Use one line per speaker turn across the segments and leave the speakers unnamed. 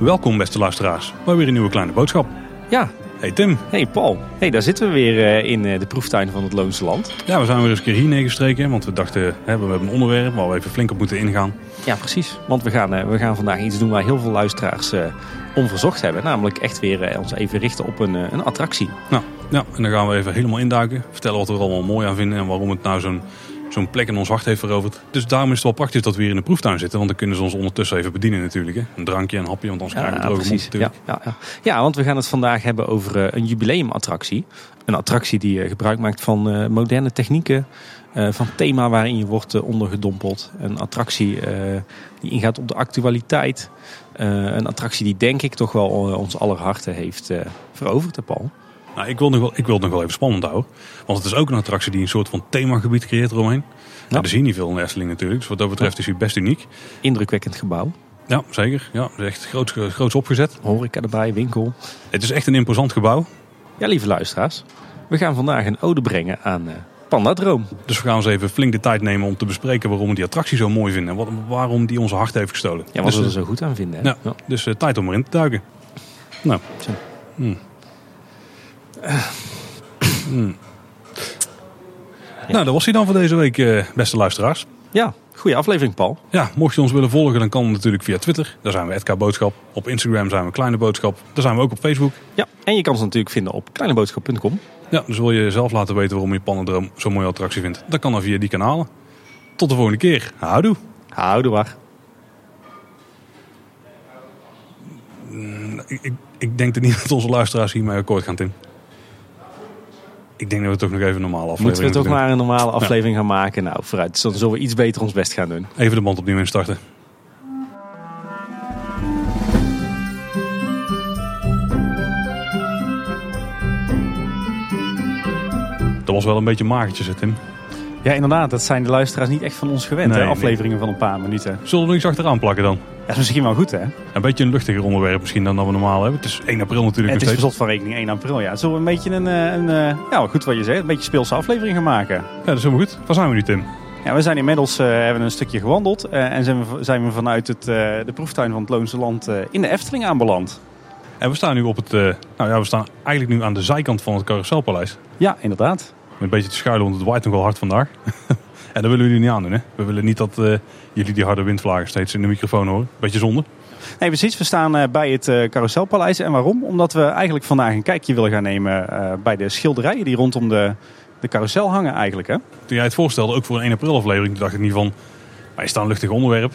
Welkom beste luisteraars, bij weer een nieuwe kleine boodschap.
Ja,
Hey Tim,
hey Paul. Hey, daar zitten we weer eh, in eh, de proeftuin van het Loonse Land.
ja we zijn weer eens een keer hierheen gestreken, want we dachten hè, we hebben een onderwerp waar we even flink op moeten ingaan.
Ja, precies. Want we gaan, eh, we gaan vandaag iets doen waar heel veel luisteraars eh, onverzocht hebben. Namelijk echt weer eh, ons even richten op een, eh, een attractie.
Nou, ja, en dan gaan we even helemaal induiken, vertellen wat we er allemaal mooi aan vinden en waarom het nou zo'n zo'n plek in ons hart heeft veroverd. Dus daarom is het wel praktisch dat we hier in de proeftuin zitten, want dan kunnen ze ons ondertussen even bedienen natuurlijk. Hè. Een drankje, een hapje, want anders krijgen we het droge mond
Ja,
natuurlijk.
ja, ja. ja, want we gaan het vandaag hebben over eh, een jubileumattractie. Een attractie die eh, gebruik maakt van eh, moderne technieken. eh, van thema waarin je wordt eh, ondergedompeld. Een attractie eh, die ingaat op de actualiteit. Eh, een attractie die denk ik toch wel eh, ons aller harten heeft eh, veroverd, hè, Paul.
Nou, ik wil, nog wel, ik wil het nog wel even spannend houden, want het is ook een attractie die een soort van themagebied creëert eromheen. Nou, er zien niet veel in de Efteling natuurlijk, dus wat dat betreft is hij best uniek.
Indrukwekkend gebouw.
Ja, zeker. Ja, het is echt groots, groots opgezet.
Horeca erbij, winkel.
Het is echt een imposant gebouw.
Ja, lieve luisteraars. We gaan vandaag een ode brengen aan eh Pandadroom.
Dus we gaan eens even flink de tijd nemen om te bespreken waarom we die attractie zo mooi vinden. En wat, waarom die onze hart heeft gestolen.
Ja, wat
dus
we er
eh,
zo goed aan vinden. Hè?
ja, dus eh, tijd om erin te duiken. Nou.
Zo. Eh.
Hmm. Hmm. Nou, dat was hij dan voor deze week, eh, beste luisteraars.
ja goede aflevering, Paul.
Ja, mocht je ons willen volgen, dan kan dat natuurlijk via Twitter. Daar zijn we Edka Boodschap. Op Instagram zijn we Kleine Boodschap. Daar zijn we ook op Facebook.
Ja, en je kan ze natuurlijk vinden op kleineboodschap.com.
Ja, dus wil je zelf laten weten waarom je Pannendroom zo'n mooie attractie vindt? Dat kan dan via die kanalen. Tot de volgende keer. Houdoe.
Houdoe waar.
Ik, ik, ik denk dat niet dat onze luisteraars hiermee akkoord gaan, Tim. Ik denk dat we toch nog even een normale aflevering
Moeten we toch
moeten
maar een normale aflevering gaan maken? Nou, vooruit. Dus Dan zullen we iets beter ons best gaan doen.
doen. Even de band opnieuw instarten. Dat was wel een beetje magertjes, hè, Tim.
Ja, inderdaad. Dat zijn de luisteraars niet echt van ons gewend.
Nee,
hè?
nee.
Afleveringen van een paar minuten.
Zullen we er niks achteraan plakken dan?
Ja, dat is misschien wel goed, hè?
Een beetje een luchtiger onderwerp misschien dan dat we normaal hebben. Het is 1 april natuurlijk
het is
nog steeds.
verzot van rekening 1 april, ja. Zullen we een beetje een, eh, een eh, ja, goed wat je zegt, een beetje speelse aflevering gaan maken?
Ja, dat is helemaal goed. Waar zijn we nu, Tim?
Ja, we zijn inmiddels, eh, hebben een stukje gewandeld eh, en zijn we, zijn we vanuit het, eh, de proeftuin van het Loonse Land eh, in de Efteling aanbeland.
En we staan nu op het. eh, nou ja, we staan eigenlijk nu aan de zijkant van het carouselpaleis.
Ja, inderdaad.
Om Een beetje te schuilen, want het waait nog wel hard vandaag. en dat willen we jullie niet aandoen, hè? We willen niet dat eh, jullie die harde windvlagen steeds in de microfoon horen. Beetje zonde.
Nee, precies. We staan eh, bij het eh, Carouselpaleis. En waarom? Omdat we eigenlijk vandaag een kijkje willen gaan nemen eh, bij de schilderijen die rondom de, de carousel hangen eigenlijk, hè?
Toen jij het voorstelde, ook voor een 1 april aflevering, toen dacht ik niet van. Wij staan een luchtig onderwerp.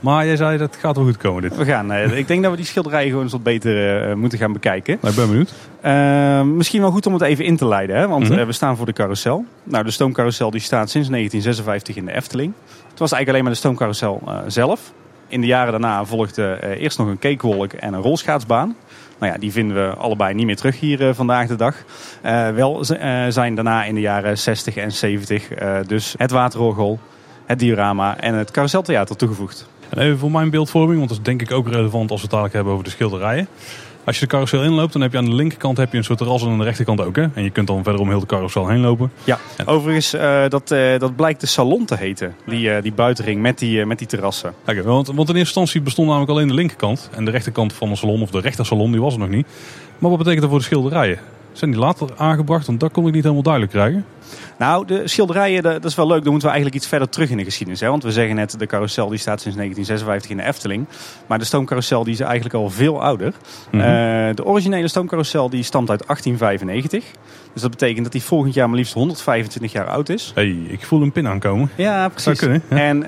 Maar jij zei dat gaat wel goed komen, dit.
We gaan, eh, ik denk dat we die schilderijen gewoon eens wat beter eh, moeten gaan bekijken.
Nou, ik ben benieuwd.
Eh, misschien wel goed om het even in te leiden, hè? want
Mhm.
eh, we staan voor de carousel. Nou, de stoomcarousel die staat sinds 1956 in de Efteling. Het was eigenlijk alleen maar de stoomcarousel eh, zelf. In de jaren daarna volgde eh, eerst nog een cakewolk en een rolschaatsbaan. Nou ja, die vinden we allebei niet meer terug hier eh, vandaag de dag. Eh, wel z- eh, zijn daarna in de jaren 60 en 70 eh, dus het waterorgel, het diorama en het carouseltheater toegevoegd.
En even voor mijn beeldvorming, want dat is denk ik ook relevant als we het dadelijk hebben over de schilderijen. Als je de carousel inloopt, dan heb je aan de linkerkant heb je een soort terras en aan de rechterkant ook. Hè? En je kunt dan verder om heel de carousel heen lopen.
Ja, overigens, eh, dat, eh, dat blijkt de salon te heten. Die, eh, die buitenring met die, eh, met die terrassen.
Oké, want, want in eerste instantie bestond namelijk alleen de linkerkant. En de rechterkant van de salon, of de rechtersalon, die was er nog niet. Maar wat betekent dat voor de schilderijen? Zijn die later aangebracht? Want dat kon ik niet helemaal duidelijk krijgen.
Nou, de schilderijen, de- dat is wel leuk. Dan moeten we eigenlijk iets verder terug in de geschiedenis. Hè? Want we zeggen net, de carousel die staat sinds 1956 in de Efteling. Maar de stoomcarousel die is eigenlijk al veel ouder.
Mhm.
Eh, de originele stoomcarousel die stamt uit 1895. Dus dat betekent dat die volgend jaar maar liefst 125 jaar oud is.
hey, ik voel een pin aankomen.
Ja,
Zou
precies.
kunnen. hè?
En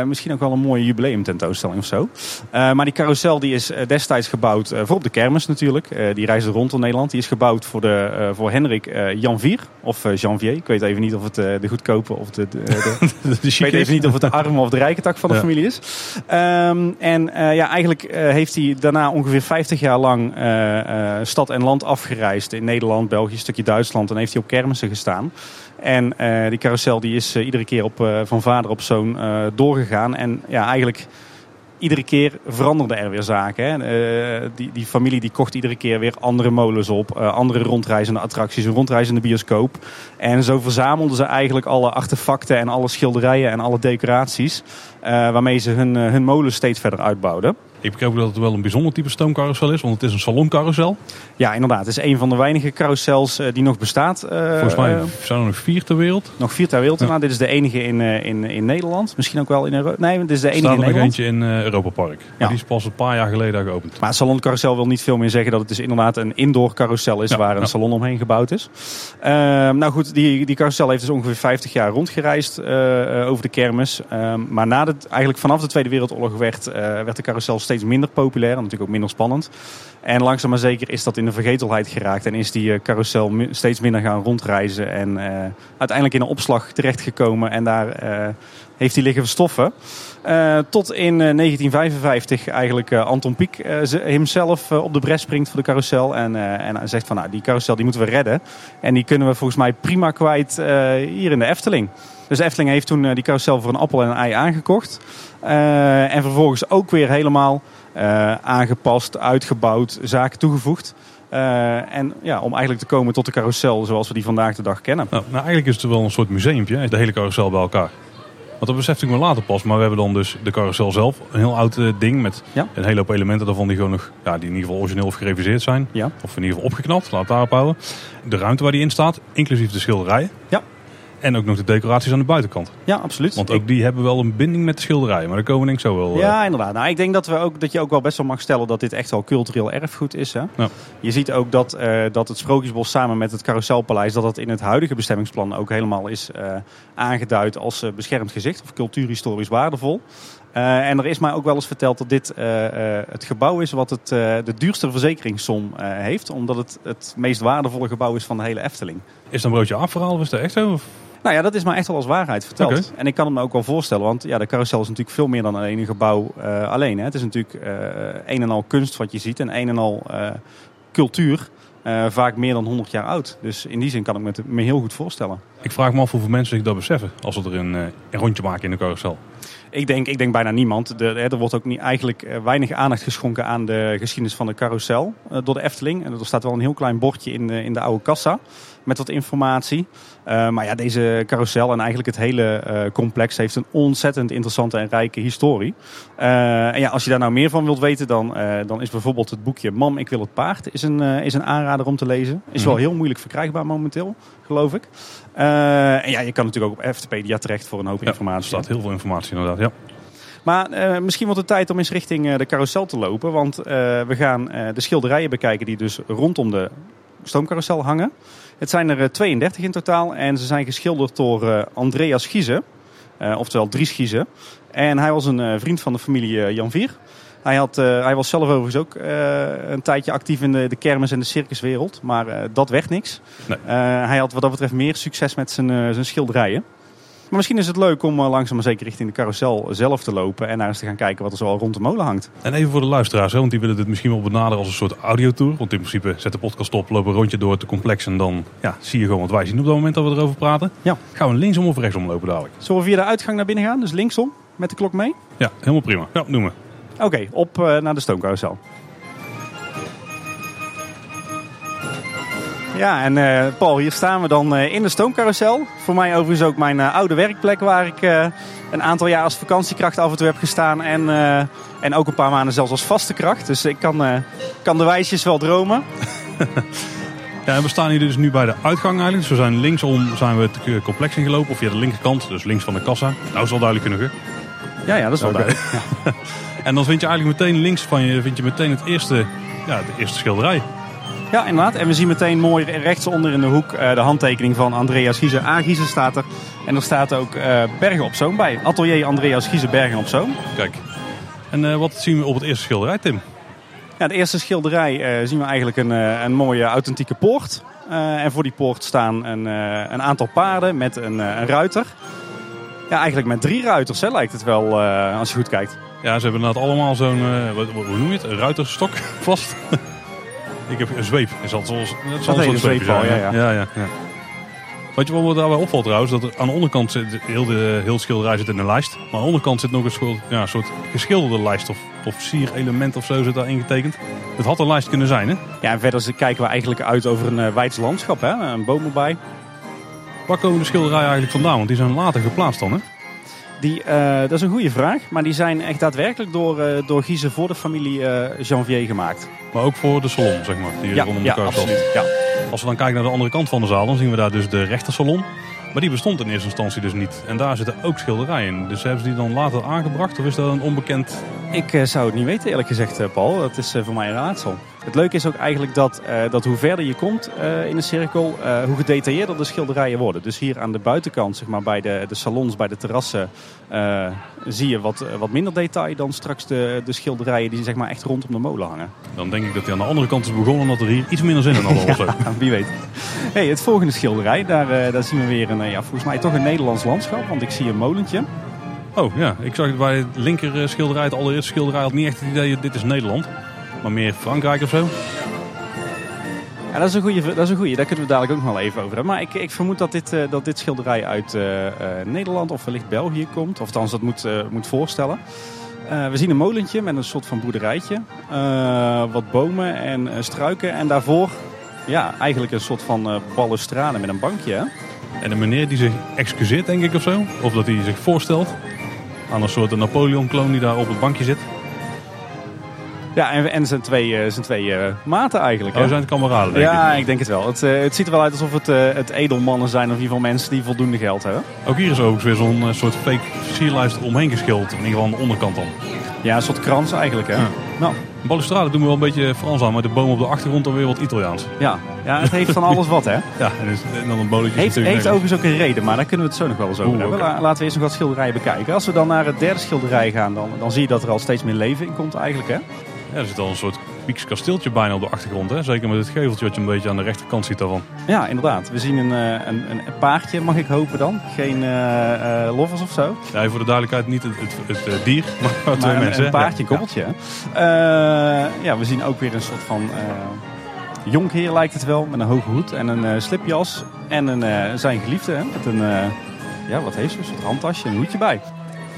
eh, misschien ook wel een mooie jubileumtentoonstelling of zo. Eh, maar die carousel die is eh, destijds gebouwd eh, voor op de kermis natuurlijk. Eh, die reisde rond door Nederland. Die is gebouwd voor, de, eh, voor Hendrik eh Janvier. Of eh, Janvier. Ik weet even niet of het eh, de goedkope of de... de, de-
De
ik weet
chique is-
even niet of het de arme of de rijke tak van de
Ja.
familie is. Ehm, en eh, ja, eigenlijk eh, heeft hij daarna ongeveer 50 jaar lang eh, eh, stad en land afgereisd. In Nederland, België, een stukje Duitsland. En heeft hij op kermissen gestaan. En eh, die carousel die is eh, iedere keer op, eh, van vader op zoon eh, doorgegaan. En ja, eigenlijk iedere keer veranderden er weer zaken. Hè. Eh, die, die familie die kocht iedere keer weer andere molens op, eh, andere rondreizende attracties, een rondreizende bioscoop. En zo verzamelden ze eigenlijk alle artefacten en alle schilderijen en alle decoraties. eh, waarmee ze hun, eh, hun molen steeds verder uitbouwden.
Ik begrijp ook dat het wel een bijzonder type stoomcarousel is, want het is een saloncarousel.
Ja, inderdaad. Het is een van de weinige carousels eh, die nog bestaat. eh,
Volgens mij
eh,
zijn er nog vier ter wereld.
nog vier ter wereld. Nou, dit is de enige in, eh, in, in Nederland. Misschien ook wel in Europa. Nee, dit is de
Er
enige
staat
in
er nog
Nederland.
eentje in eh, Europa Park.
Ja.
Maar die is pas een paar jaar geleden geopend.
Maar het salon carousel wil niet veel meer zeggen dat het dus inderdaad een indoor carousel is
Ja,
waar een
ja.
salon omheen gebouwd is. Ehm, nou goed, die, die carousel heeft dus ongeveer 50 jaar rondgereisd eh, eh, over de kermis. Ehm, maar na de, eigenlijk vanaf de Tweede Wereldoorlog werd, eh, werd de carousel steeds minder populair en natuurlijk ook minder spannend. En langzaam maar zeker is dat in de vergetelheid geraakt en is die eh, carousel mi- steeds minder gaan rondreizen. En eh, uiteindelijk in een opslag terechtgekomen en daar eh, heeft hij liggen verstoffen. Eh, tot in eh, 1955 eigenlijk eh, Anton Pieck eh, ze- hemzelf eh, op de bres springt voor de carousel. En, eh, en hij zegt van nou die carousel die moeten we redden. En die kunnen we volgens mij prima kwijt eh, hier in de Efteling. Dus de Efteling heeft toen eh, die carousel voor een appel en een ei aangekocht. Eh, en vervolgens ook weer helemaal eh, aangepast, uitgebouwd, zaken toegevoegd. Eh, en ja, om eigenlijk te komen tot de carousel zoals we die vandaag de dag kennen.
Nou, nou, eigenlijk is het wel een soort museumpje, hè, de hele carousel bij elkaar. Want dat besefte ik me later pas, maar we hebben dan dus de carousel zelf. Een heel oud eh, ding met
Ja.
een hele hoop elementen daarvan die gewoon nog, ja, die in ieder geval origineel of gereviseerd zijn.
Ja.
Of in ieder geval opgeknapt, laat het daarop houden. De ruimte waar die in staat, inclusief de schilderijen.
Ja.
En ook nog de decoraties aan de buitenkant.
Ja, absoluut.
Want ook die hebben wel een binding met de schilderijen, maar daar komen we denk ik zo wel. eh,
Ja, inderdaad. Nou, ik denk dat, we ook, dat je ook wel best wel mag stellen dat dit echt wel cultureel erfgoed is. Hè?
Ja.
Je ziet ook dat, eh, dat het Sprookjesbos samen met het Carouselpaleis... dat dat in het huidige bestemmingsplan ook helemaal is eh, aangeduid als eh, beschermd gezicht... of cultuurhistorisch waardevol. Eh, en er is mij ook wel eens verteld dat dit eh, eh, het gebouw is wat het, eh, de duurste verzekeringssom eh, heeft... omdat het het meest waardevolle gebouw is van de hele Efteling.
Is het een broodje afverhaal of is dat echt zo? Of-
Nou ja, dat is maar echt wel als waarheid verteld.
Oké.
En ik kan het me ook wel voorstellen, want ja, de carousel is natuurlijk veel meer dan alleen een gebouw eh, alleen. Hè. Het is natuurlijk eh, een en al kunst wat je ziet en een en al eh, cultuur, eh, vaak meer dan 100 jaar oud. Dus in die zin kan ik me, het- me heel goed voorstellen.
Ik vraag me af hoeveel mensen zich dat beseffen als ze er een, eh, een rondje maken in de carousel.
Ik denk, ik denk bijna niemand. De, hè, er wordt ook niet, eigenlijk eh, weinig aandacht geschonken aan de geschiedenis van de carousel eh, door de Efteling. En er staat wel een heel klein bordje in de, in de oude kassa met wat informatie. Eh, maar ja, deze carousel en eigenlijk het hele eh, complex heeft een ontzettend interessante en rijke historie. Eh, en ja, als je daar nou meer van wilt weten, dan, eh, dan is bijvoorbeeld het boekje Mam, ik wil het paard is een, eh, is een aanrader om te lezen. Is wel
Mhm.
heel moeilijk verkrijgbaar momenteel, geloof ik. Eh, en ja, je kan natuurlijk ook op Eftepedia terecht voor een hoop
Ja, Er
informatie.
staat heel veel informatie inderdaad. Ja.
Maar eh, misschien wordt het tijd om eens richting eh, de carousel te lopen. Want eh, we gaan eh, de schilderijen bekijken die dus rondom de stoomcarousel hangen. Het zijn er eh, 32 in totaal en ze zijn geschilderd door eh, Andreas Giese. eh, oftewel Dries Giese. En hij was een eh, vriend van de familie eh, Jan Vier. Hij, had, eh, hij was zelf overigens ook eh, een tijdje actief in de, de kermis- en de circuswereld. Maar eh, dat werd niks.
Nee.
Eh, hij had wat dat betreft meer succes met zijn, eh, zijn schilderijen. Maar misschien is het leuk om eh, langzaam maar zeker richting de carousel zelf te lopen. En daar eens te gaan kijken wat er zoal rond de molen hangt.
En even voor de luisteraars, hè, want die willen dit misschien wel benaderen als een soort audiotour. Want in principe zet de podcast op, lopen een rondje door het complex en dan ja, zie je gewoon wat wij zien op dat moment dat we erover praten.
Ja.
Gaan we linksom of rechtsom lopen dadelijk?
Zullen we via de uitgang naar binnen gaan? Dus linksom, met de klok mee?
Ja, helemaal prima. Ja, doen we.
Oké, op eh, naar de stoomcarousel. Ja, en eh, Paul, hier staan we dan eh, in de stoomcarousel. Voor mij overigens ook mijn eh, oude werkplek waar ik eh, een aantal jaar als vakantiekracht af en toe heb gestaan. En, eh, en ook een paar maanden zelfs als vaste kracht. Dus ik kan, eh, kan de wijsjes wel dromen.
Ja, en we staan hier dus nu bij de uitgang eigenlijk. Dus we zijn linksom zijn we het eh, complex ingelopen, of via de linkerkant, dus links van de kassa. Nou, is wel duidelijk genoeg. hè?
Ja, ja, dat is wel
Oké.
duidelijk.
En dan vind je eigenlijk meteen links van je, vind je meteen het eerste, ja, de eerste schilderij.
Ja, inderdaad. En we zien meteen mooi rechtsonder in de hoek eh, de handtekening van Andreas Giese. A. Giese staat er. En er staat ook eh, Bergen op Zoom bij. Atelier Andreas Giese Bergen op Zoom.
Kijk. En eh, wat zien we op het eerste schilderij, Tim?
Ja, de eerste schilderij eh, zien we eigenlijk een, eh, een mooie authentieke poort. Eh, en voor die poort staan een, eh, een aantal paarden met een, eh, een ruiter. Ja, eigenlijk met drie ruiters hè, lijkt het wel eh, als je goed kijkt.
Ja, ze hebben inderdaad allemaal zo'n, eh, wat, wat- hoe noem je het, een ruiterstok vast. Ik heb een zweep. Is dat zoals, dat zal
heet
een
een
soort zweepje
zweep al,
zijn, hè?
ja,
ja, ja. ja. Wat je wel wat daarbij opvalt trouwens, dat er aan de onderkant zit, heel, de, heel het schilderij zit in een lijst. Maar aan de onderkant zit nog een schil- ja, een soort geschilderde lijst of, of sierelement of zo zit daar ingetekend. Het had een lijst kunnen zijn hè.
Ja, en verder kijken we eigenlijk uit over een eh, weids landschap. Hè? Een boom erbij.
Waar komen de schilderijen eigenlijk vandaan? Want die zijn later geplaatst dan hè.
Die, eh, dat is een goede vraag. Maar die zijn echt daadwerkelijk door, eh, door Giezen voor de familie eh, Janvier gemaakt.
Maar ook voor de salon zeg maar, die rondom de
ja
carousel zit.
absoluut. Ja.
Als we dan kijken naar de andere kant van de zaal, dan zien we daar dus de rechtersalon. Maar die bestond in eerste instantie dus niet. En daar zitten ook schilderijen in. Dus hebben ze die dan later aangebracht? Of is dat een onbekend...
Ik eh, zou het niet weten, eerlijk gezegd, eh, Paul. Dat is eh, voor mij een raadsel. Het leuke is ook eigenlijk dat, eh, dat hoe verder je komt eh, in een cirkel, eh, hoe gedetailleerder de schilderijen worden. Dus hier aan de buitenkant, zeg maar, bij de, de salons, bij de terrassen, eh, zie je wat, wat minder detail dan straks de, de schilderijen die zeg maar, echt rondom de molen hangen.
Dan denk ik dat die aan de andere kant is begonnen... en dat er hier iets minder zin in hadden of zo.
Ja, Nou, wie weet. Hey, het volgende schilderij, daar, eh, daar zien we weer een, eh, ja, volgens mij toch een Nederlands landschap, want ik zie een molentje.
Oh ja, ik zag het bij het linker eh, schilderij, het allereerste schilderij... had niet echt het idee, dit is Nederland. Maar meer Frankrijk of zo.
Ja, dat is een goede. Dat is een goeie. Daar kunnen we dadelijk ook nog wel even over hebben. Maar ik, ik vermoed dat dit, eh, dat dit schilderij uit eh, eh, Nederland of wellicht België komt. Of althans, dat moet, eh, moet voorstellen. Eh, we zien een molentje met een soort van boerderijtje. Eh, wat bomen en eh, struiken. En daarvoor ja, eigenlijk een soort van eh balustrade met een bankje. Hè?
En een meneer die zich excuseert, denk ik of zo. Of dat hij zich voorstelt aan een soort Napoleon-kloon die daar op het bankje zit.
Ja, en, en zijn twee, eh, zijn twee eh, maten eigenlijk.
Oh,
hè?
zijn het kameraden, denk ik.
ja, ik denk het wel. Het, eh, het ziet er wel uit alsof het, eh, het edelmannen zijn. Of in ieder geval mensen die voldoende geld hebben.
Ook hier is overigens weer zo'n eh, soort fake sierlijst omheen geschilderd. In ieder geval aan de onderkant dan.
Ja, een soort krans eigenlijk. Hè?
Ja.
Nou,
De balustrade doen we wel een beetje Frans aan, maar de boom op de achtergrond dan weer wat Italiaans.
ja. ja, het heeft van alles wat hè.
Ja, en, is- en dan een bolletje
Heeft, heeft overigens ook een reden, maar daar kunnen we het zo nog wel eens over
Oeh,
hebben.
oké.
La- Laten we eerst nog wat schilderijen bekijken. Als we dan naar het derde schilderij gaan, dan, dan zie je dat er al steeds meer leven in komt eigenlijk. Hè?
Ja, er zit al een soort Pieks kasteeltje bijna op de achtergrond. Hè? Zeker met het geveltje wat je een beetje aan de rechterkant ziet daarvan.
Ja, inderdaad. We zien een, eh, een, een paardje, mag ik hopen dan. Geen eh, eh, lovers of zo.
Ja, voor de duidelijkheid niet het, het, het, eh, dier, maar, twee
maar een,
mensen.
een
hè?
paardje, een
Ja.
koppeltje. Ja. ja, we zien ook weer een soort van eh, jonkheer lijkt het wel. Met een hoge hoed en een eh, slipjas. En een, eh, zijn geliefde hè, met een, eh, ja wat heeft ze? Een soort handtasje en een hoedje bij.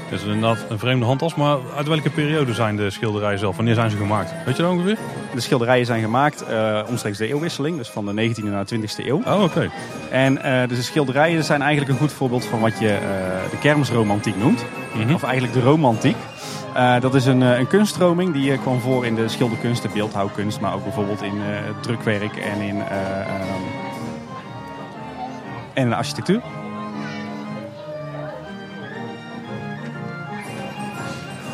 Het is inderdaad een vreemde handtas, maar uit welke periode zijn de schilderijen zelf? Wanneer zijn ze gemaakt? Weet je dat ongeveer?
De schilderijen zijn gemaakt eh, omstreeks de eeuwwisseling, dus van de 19e naar de 20e eeuw.
Oh, oké.
En eh, dus de schilderijen zijn eigenlijk een goed voorbeeld van wat je eh, de kermisromantiek noemt.
Mhm.
Of eigenlijk de romantiek. Eh, dat is een, eh, een kunststroming die eh, kwam voor in de schilderkunst, de beeldhouwkunst, maar ook bijvoorbeeld in eh, het drukwerk en in, eh, ehm, en in de architectuur.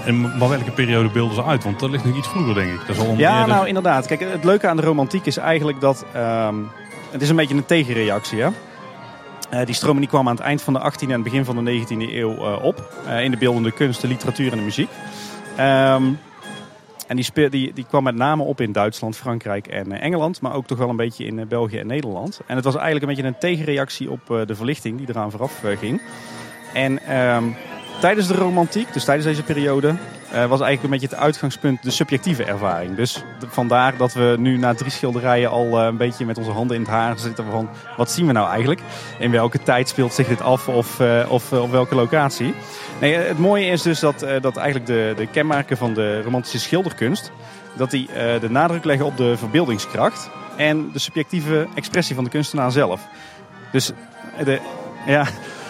En maar welke periode beelden ze uit? Want dat ligt nog iets vroeger, denk ik. Dat is al een
Ja,
eerder-
nou inderdaad. Kijk, het leuke aan de romantiek is eigenlijk dat. ehm, het is een beetje een tegenreactie, hè? Eh, die stroming die kwam aan het eind van de 18e en het begin van de 19e eeuw eh, op. Eh, in de beeldende kunst, de literatuur en de muziek. Ehm, en die, speel, die, die kwam met name op in Duitsland, Frankrijk en eh, Engeland. Maar ook toch wel een beetje in eh, België en Nederland. En het was eigenlijk een beetje een tegenreactie op eh, de verlichting die eraan vooraf eh, ging. En ehm, tijdens de romantiek, dus tijdens deze periode, eh, was eigenlijk een beetje het uitgangspunt de subjectieve ervaring. Dus de- vandaar dat we nu na drie schilderijen al eh, een beetje met onze handen in het haar zitten van wat zien we nou eigenlijk? In welke tijd speelt zich dit af of, eh, of eh, op welke locatie? Nee, eh, het mooie is dus dat, eh, dat eigenlijk de, de kenmerken van de romantische schilderkunst, dat die eh, de nadruk leggen op de verbeeldingskracht en de subjectieve expressie van de kunstenaar zelf. Dus, eh, de, ja,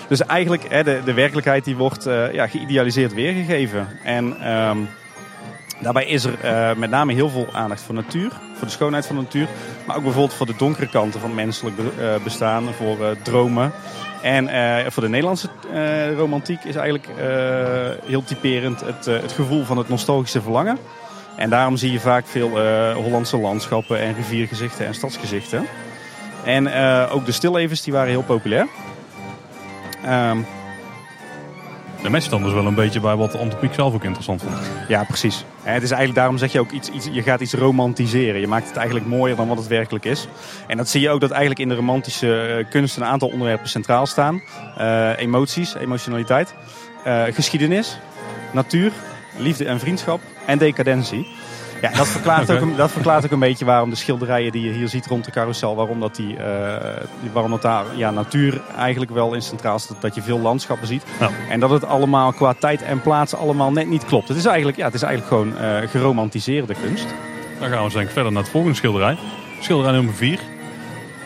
dus eigenlijk, hè, de, de werkelijkheid die wordt eh, ja, geïdealiseerd weergegeven. En ehm, daarbij is er eh, met name heel veel aandacht voor natuur, voor de schoonheid van de natuur. Maar ook bijvoorbeeld voor de donkere kanten van menselijk be- eh, bestaan, voor eh, dromen. En eh, voor de Nederlandse eh, romantiek is eigenlijk eh, heel typerend het, eh, het gevoel van het nostalgische verlangen. En daarom zie je vaak veel eh, Hollandse landschappen en riviergezichten en stadsgezichten. En eh, ook de stillevens die waren heel populair. Ehm,
Dat matcht dan dus wel een beetje bij wat Anton Pieck zelf ook interessant vond.
ja, precies. En het is eigenlijk daarom zeg je ook iets, iets, je gaat iets romantiseren. Je maakt het eigenlijk mooier dan wat het werkelijk is. En dat zie je ook dat eigenlijk in de romantische eh, kunst een aantal onderwerpen centraal staan: Eh, emoties, emotionaliteit, eh, geschiedenis, natuur, liefde en vriendschap en decadentie. Ja, Ja, dat verklaart,
Oké.
ook een, dat verklaart ook een beetje waarom de schilderijen die je hier ziet rond de carousel, waarom dat, die, eh, die- waarom dat daar ja, natuur eigenlijk wel in centraal staat. Dat je veel landschappen ziet.
Ja.
En dat het allemaal qua tijd en plaats allemaal net niet klopt. Het is eigenlijk, ja, het is eigenlijk gewoon eh, geromantiseerde kunst.
Dan gaan we denk ik verder naar het volgende schilderij. Schilderij nummer 4.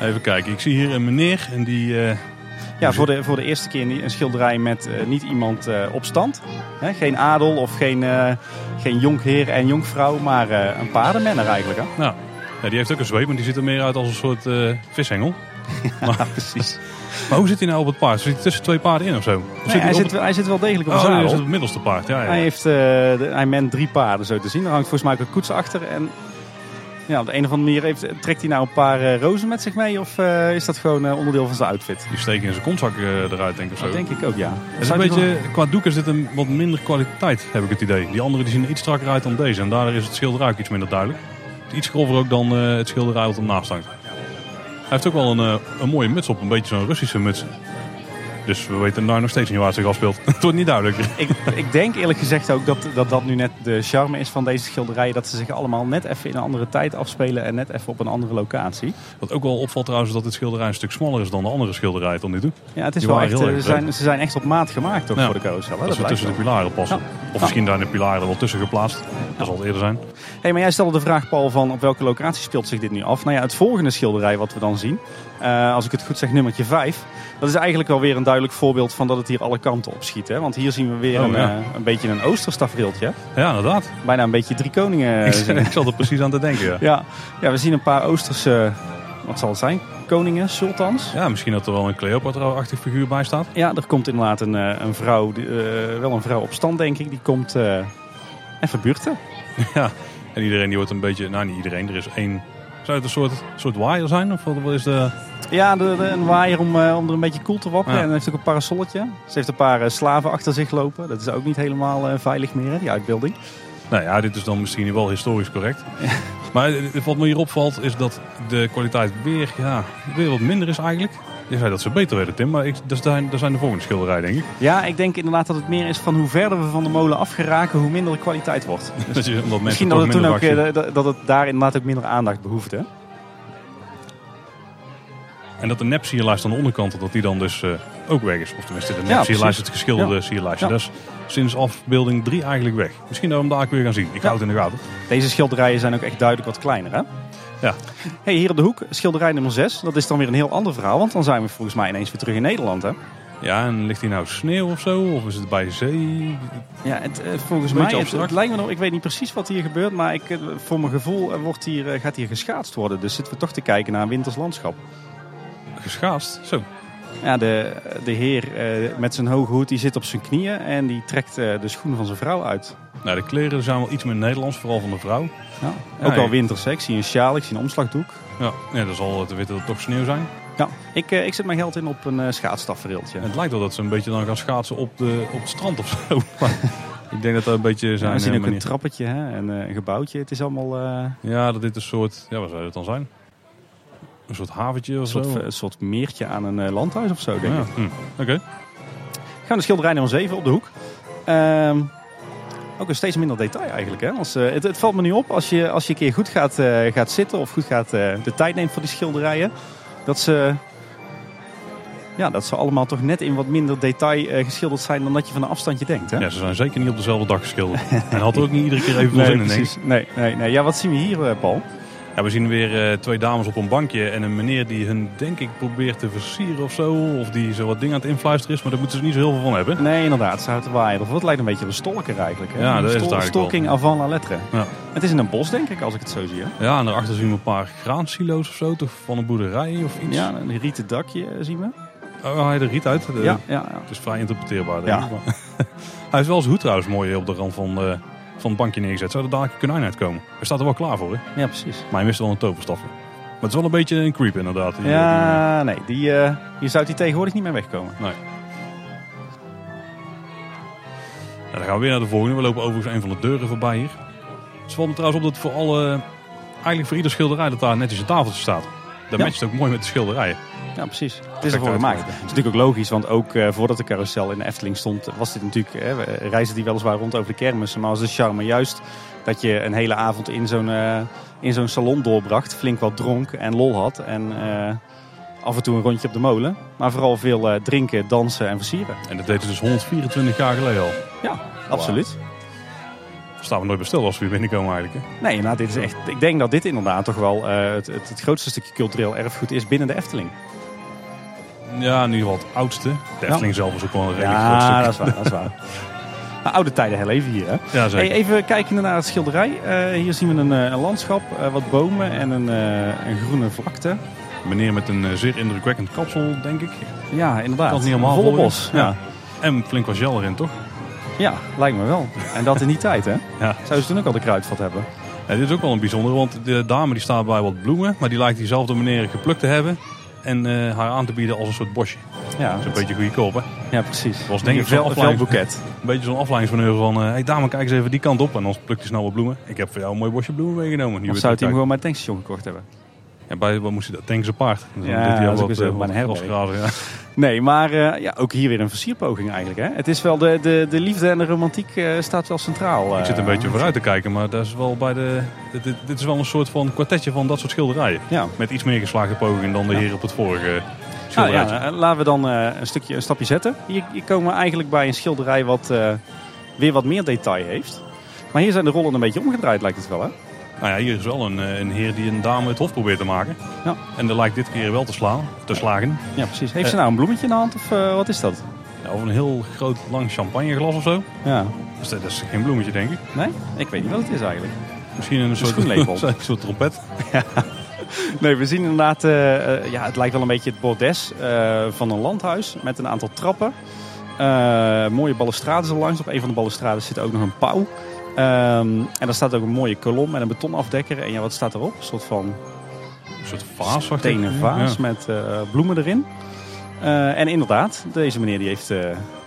Even kijken, ik zie hier een meneer en die... eh,
Ja, voor de, voor de eerste keer een schilderij met eh, niet iemand eh, op stand. Hè, geen adel of geen, eh geen jonkheer en jonkvrouw, maar eh, een paardenmenner eigenlijk. Hè?
nou, ja, die heeft ook een zweep, maar die ziet er meer uit als een soort eh, vishengel.
precies.
Maar hoe zit hij nou op het paard? Zit hij tussen twee paarden in of zo? Of
Nee, hij,
op
zit, wel- hij zit wel degelijk op
Oh,
een
hij
zadel.
is het middelste paard. Ja, ja.
Hij, heeft, eh, de- hij ment drie paarden zo te zien. Er hangt volgens mij ook een koets achter. En ja, op de een of andere manier heeft, trekt hij nou een paar eh, rozen met zich mee? Of eh, is dat gewoon eh, onderdeel van zijn outfit?
Die steken in zijn kontzak eh, eruit, denk ik of zo.
Dat denk ik ook, ja.
Het is een
Zou die
beetje, qua doek is dit een wat minder kwaliteit, heb ik het idee. Die andere die zien er iets strakker uit dan deze. En daardoor is het schilderij ook iets minder duidelijk. Het is iets grover ook dan eh, het schilderij wat ernaast hangt. Hij heeft ook wel een, eh, een mooie muts op. Een beetje zo'n Russische muts. Dus we weten daar nog steeds niet waar het zich afspeelt. het wordt niet duidelijker.
ik, ik denk eerlijk gezegd ook dat, dat dat nu net de charme is van deze schilderijen. Dat ze zich allemaal net even in een andere tijd afspelen en net even op een andere locatie.
Wat ook wel opvalt trouwens is dat dit schilderij een stuk smaller is dan de andere schilderijen tot nu toe.
Ja, het is
Die
wel
waren
echt,
heel
eh,
erg
ze, zijn, ze zijn echt op maat gemaakt toch,
Ja.
voor de carousel. Hè?
Dat,
Dat
ze
blijkt
tussen de pilaren passen.
Ja.
Of misschien daar de pilaren er wel tussen geplaatst. Dat zal het eerder zijn.
Hey, maar jij stelde de vraag, Paul, van op welke locatie speelt zich dit nu af? Nou ja, het volgende schilderij wat we dan zien, eh, als ik het goed zeg, nummertje 5. Dat is eigenlijk wel weer een duidelijk voorbeeld van dat het hier alle kanten op schiet. Hè? Want hier zien we weer
Oh,
een,
ja.
eh, een beetje een oosterstafreeltje.
Ja, inderdaad.
Bijna een beetje drie koningen. eh, zien we.
ik zat er precies aan te denken. Ja.
ja. ja, we zien een paar oosterse, wat zal het zijn? Koningen, sultans.
Ja, misschien dat er wel een Cleopatra-achtig figuur bij staat.
Ja, er komt inderdaad een, eh, een vrouw, die, eh, wel een vrouw op stand denk ik, die komt eh, even buurten.
Ja, en iedereen die wordt een beetje... Nou, niet iedereen. Er is één... Zou het een soort, soort waaier zijn? Of wat wat is de...
Ja, de, de- een waaier om, eh, om er een beetje koel te wapperen.
Ja.
En dan heeft ook een parasolletje. Ze heeft een paar eh, slaven achter zich lopen. Dat is ook niet helemaal eh, veilig meer, hè, die uitbeelding.
Nou ja, dit is dan misschien wel historisch correct. Maar eh, wat me hier opvalt is dat de kwaliteit weer, ja, weer wat minder is eigenlijk. Je zei dat ze beter werden, Tim. Maar ik, dat, zijn, dat zijn de volgende schilderijen, denk ik.
Ja, ik denk inderdaad dat het meer is van hoe verder we van de molen afgeraken, hoe minder de kwaliteit wordt.
Dat je, omdat mensen
Misschien
toch
dat het toen
minder
ook
vaak zien.
eh, dat- dat het daar inderdaad ook minder aandacht behoefte. hè?
En dat de nep sierlijst aan de onderkant, dat die dan dus eh, ook weg is. Of tenminste, de nep
Ja,
sierlijst,
precies.
het geschilderde sierlijstje.
Ja.
Dat is sinds afbeelding 3 eigenlijk weg. Misschien dat we hem daar ook weer gaan zien. Ik
Ja.
hou het in de gaten.
Deze schilderijen zijn ook echt duidelijk wat kleiner, hè?
Ja.
Hey, hier op de hoek, schilderij nummer 6. Dat is dan weer een heel ander verhaal, want dan zijn we volgens mij ineens weer terug in Nederland, hè?
Ja, en ligt hier nou sneeuw of zo? Of is het bij de zee?
Ja, het, eh, volgens
Beetje
mij, het,
abstract.
het lijkt me nog, ik weet niet precies wat hier gebeurt, maar ik, eh, voor mijn gevoel eh, wordt hier, eh, gaat hier geschaatst worden. Dus zitten we toch te kijken naar een winters landschap.
Geschaast? Zo.
Ja, de, de heer eh, met zijn hoge hoed, die zit op zijn knieën en die trekt eh, de schoenen van zijn vrouw uit.
Nou, de kleren zijn wel iets meer Nederlands, vooral van de vrouw.
Ja,
Ja,
ook
ja.
wel winters, hè. ik zie een sjaal, ik zie een omslagdoek.
Ja, ja dan zal het weten dat het toch sneeuw zijn.
Ja, ik, eh, ik zet mijn geld in op een eh schaatstafvereeltje.
Het lijkt wel dat ze een beetje dan gaan schaatsen op, de, op het strand of zo. Maar ik denk dat dat een beetje
Ja,
zijn
we zien
eh,
ook een
manier-
trappetje hè, en eh, een gebouwtje. Het is allemaal eh,
Ja, dat dit een soort... Ja, wat zou dat dan zijn? Een soort haventje
een,
of
soort,
zo?
een soort meertje aan een eh, landhuis of zo, denk
Ja,
ik.
hm. Oké.
Gaan de schilderij nummer 7 op de hoek. Ehm, ook een steeds minder detail eigenlijk. Hè? Als, eh, het, het valt me nu op, als je, als je een keer goed gaat, eh, gaat zitten of goed gaat, eh, de tijd neemt voor die schilderijen, dat ze, ja, dat ze allemaal toch net in wat minder detail eh, geschilderd zijn dan dat je van een afstandje denkt. Hè?
Ja, ze zijn zeker niet op dezelfde dag geschilderd. en had er ook niet iedere keer even veel
nee,
zin in, denk ik.
precies. Nee, nee, nee. Ja, wat zien we hier, eh, Paul?
Ja, we zien weer eh, twee dames op een bankje en een meneer die hun, denk ik, probeert te versieren of zo. Of die zo wat dingen aan het influisteren is, maar daar moeten ze niet zo heel veel van hebben.
Nee, inderdaad, ze houdt de waaier. Of wat lijkt een beetje op een stolker eigenlijk. Hè?
Ja, dat is het
Stol-
eigenlijk wel.
Stalking avant la lettre.
Ja.
Het is in een bos, denk ik, als ik het zo zie. Hè?
Ja, en daarachter zien we een paar graansilo's of zo, toch van een boerderij of iets.
Ja, een rieten dakje eh, zien we.
Oh, hij de riet uit. De-
ja, ja, ja.
Het is vrij interpreteerbaar, denk
Ja.
ik. Maar- hij is wel zijn hoed trouwens mooi op de rand van, eh, van het bankje neergezet. Zou er dadelijk een konijn uitkomen? Hij staat er wel klaar voor, hè?
Ja, precies.
Maar hij mist wel een toverstafje. Maar het is wel een beetje een creep, inderdaad. die- eh. die-
Ja, nee, die, eh, hier zou die tegenwoordig niet meer wegkomen.
Ja, Nou, dan gaan we weer naar de volgende. We lopen overigens een van de deuren voorbij hier. Het valt me trouwens op dat voor alle, eigenlijk voor ieder schilderij dat daar netjes een tafeltje staat. Dat
Ja.
matcht ook mooi met de schilderijen.
Ja, precies. Het is ervoor gemaakt. Het is natuurlijk ook logisch, want ook eh, voordat de carousel in de Efteling stond, was dit natuurlijk eh, reizen die weliswaar rond over de kermis. Maar was de charme juist dat je een hele avond in zo'n eh, in zo'n salon doorbracht, flink wat dronk en lol had. En eh, af en toe een rondje op de molen. Maar vooral veel eh, drinken, dansen en versieren.
En dat deden ze dus 124 jaar geleden al.
Absoluut.
Staan we nooit bij stil als we hier binnenkomen eigenlijk. Hè?
Nee, nou, dit is echt, ik denk dat dit inderdaad toch wel eh, het, het, het grootste stukje cultureel erfgoed is binnen de Efteling.
Ja, in ieder geval het oudste. De Efteling zelf is ook wel een redelijk groot
Ja,
stuk.
dat is waar. Dat is waar. Maar Nou, oude tijden heel even hier, hè?
Ja, zeker.
Hey, even kijken naar het schilderij. Eh, hier zien we een, eh, een landschap, eh, wat bomen en een, eh, een groene vlakte.
Meneer met een eh, zeer indrukwekkend kapsel, denk ik.
Ja, inderdaad.
Kan het niet helemaal
Volle
volgen?
bos. Ja.
En flink wat gel erin, toch?
ja, lijkt me wel. En dat in die tijd, hè?
Ja.
Zouden ze toen ook al de kruidvat hebben?
Ja, dit is ook wel een bijzonder, want de dame die staat bij wat bloemen, maar die lijkt diezelfde meneer geplukt te hebben. En eh, haar aan te bieden als een soort bosje.
Ja,
Dat is een beetje goede koop, hè?
ja precies.
was denk ik
Een vel-
zo'n
een velboeket.
Een beetje zo'n afleidingsmanoeuvre van... eh hey dame, kijk eens even die kant op. En dan plukt hij snel wat bloemen. Ik heb voor jou een mooi bosje bloemen meegenomen. Nu
Of
weer
zou het hem
terug
gewoon bij het tankstation gekocht hebben?
kijken. Ja, bij, wat moest hij dat? Tanks apart. Dus dan
Ja,
doet hij
dat
al
is ook
wat,
weer zo,
eh,
maar een
wat
herberg.
grasgrazen, ja.
Nee, maar eh, ja, ook hier weer een versierpoging eigenlijk, hè? Het is wel de, de, de liefde en de romantiek eh, staat wel centraal.
Ik zit een
eh.
beetje vooruit te kijken, maar dat is wel bij de, dit, dit- dit is wel een soort van kwartetje van dat soort schilderijen.
Ja.
Met iets meer geslaagde poging dan de hier op het vorige
Nou
schilderijtje.
ja, eh, laten we dan eh, een, stukje, een stapje zetten. Hier, hier komen we eigenlijk bij een schilderij wat eh, weer wat meer detail heeft. Maar hier zijn de rollen een beetje omgedraaid, lijkt het wel, hè?
Nou ja, hier is wel een, eh, een heer die een dame het hof probeert te maken.
Ja.
En dat lijkt dit keer wel te slaan, te slagen.
Ja, precies. Heeft ze nou een bloemetje in de hand of eh, wat is dat?
Ja, of een heel groot lang champagneglas of zo.
Ja.
Dus dat is geen bloemetje, denk ik.
Nee? Ik weet niet wat het is eigenlijk.
Misschien een soort,
schoenlepel.
een soort trompet.
Nee, we zien inderdaad... eh, eh, ja, het lijkt wel een beetje het bordes eh, van een landhuis met een aantal trappen. Eh, mooie balustrades er langs. Op een van de balustrades zit ook nog een pauw. Ehm, en daar staat ook een mooie kolom met een betonafdekker. En ja, wat staat erop? Een soort van
Een soort vaas. zag ik.
stenen vaas
Ja.
met eh, bloemen erin. Eh, en inderdaad, deze meneer die heeft eh,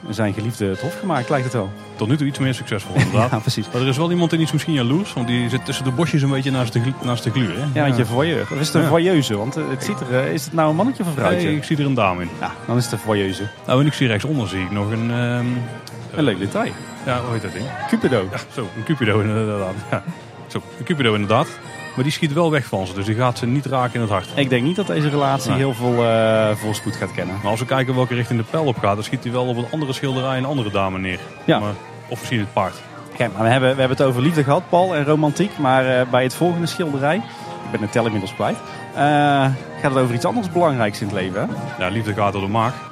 zijn geliefde het hof gemaakt, lijkt het wel.
Tot nu toe iets meer succesvol, inderdaad.
precies.
Maar er is wel iemand die is misschien jaloers, want die zit tussen de bosjes een beetje naast de, glu- naast de gluur. Hè?
Ja, want je voyeur. Of is het een
Ja.
voyeuse? Want eh, het ziet er, eh, is het nou een mannetje of een vrouwtje?
Hey, ik zie er een dame in.
Ja, dan is het een voyeuse.
Nou, en ik zie rechtsonder zie ik nog een... ehm,
Een leuk detail.
ja, hoe heet dat ding?
Cupido.
Ja, zo, een cupido inderdaad. Ja. Zo, een cupido inderdaad. Maar die schiet wel weg van ze, dus die gaat ze niet raken in het hart.
Ik denk niet dat deze relatie
Nee.
heel veel eh, voorspoed gaat kennen.
Maar als we kijken welke richting de pijl op gaat, dan schiet hij wel op een andere schilderij een andere dame neer.
Ja.
Maar, of misschien het paard.
Oké, maar we hebben, we hebben het over liefde gehad, Paul, en romantiek. Maar eh, bij het volgende schilderij, ik ben de tel inmiddels kwijt, eh, gaat het over iets anders belangrijks in het leven. hè?
Ja, liefde gaat door de maag.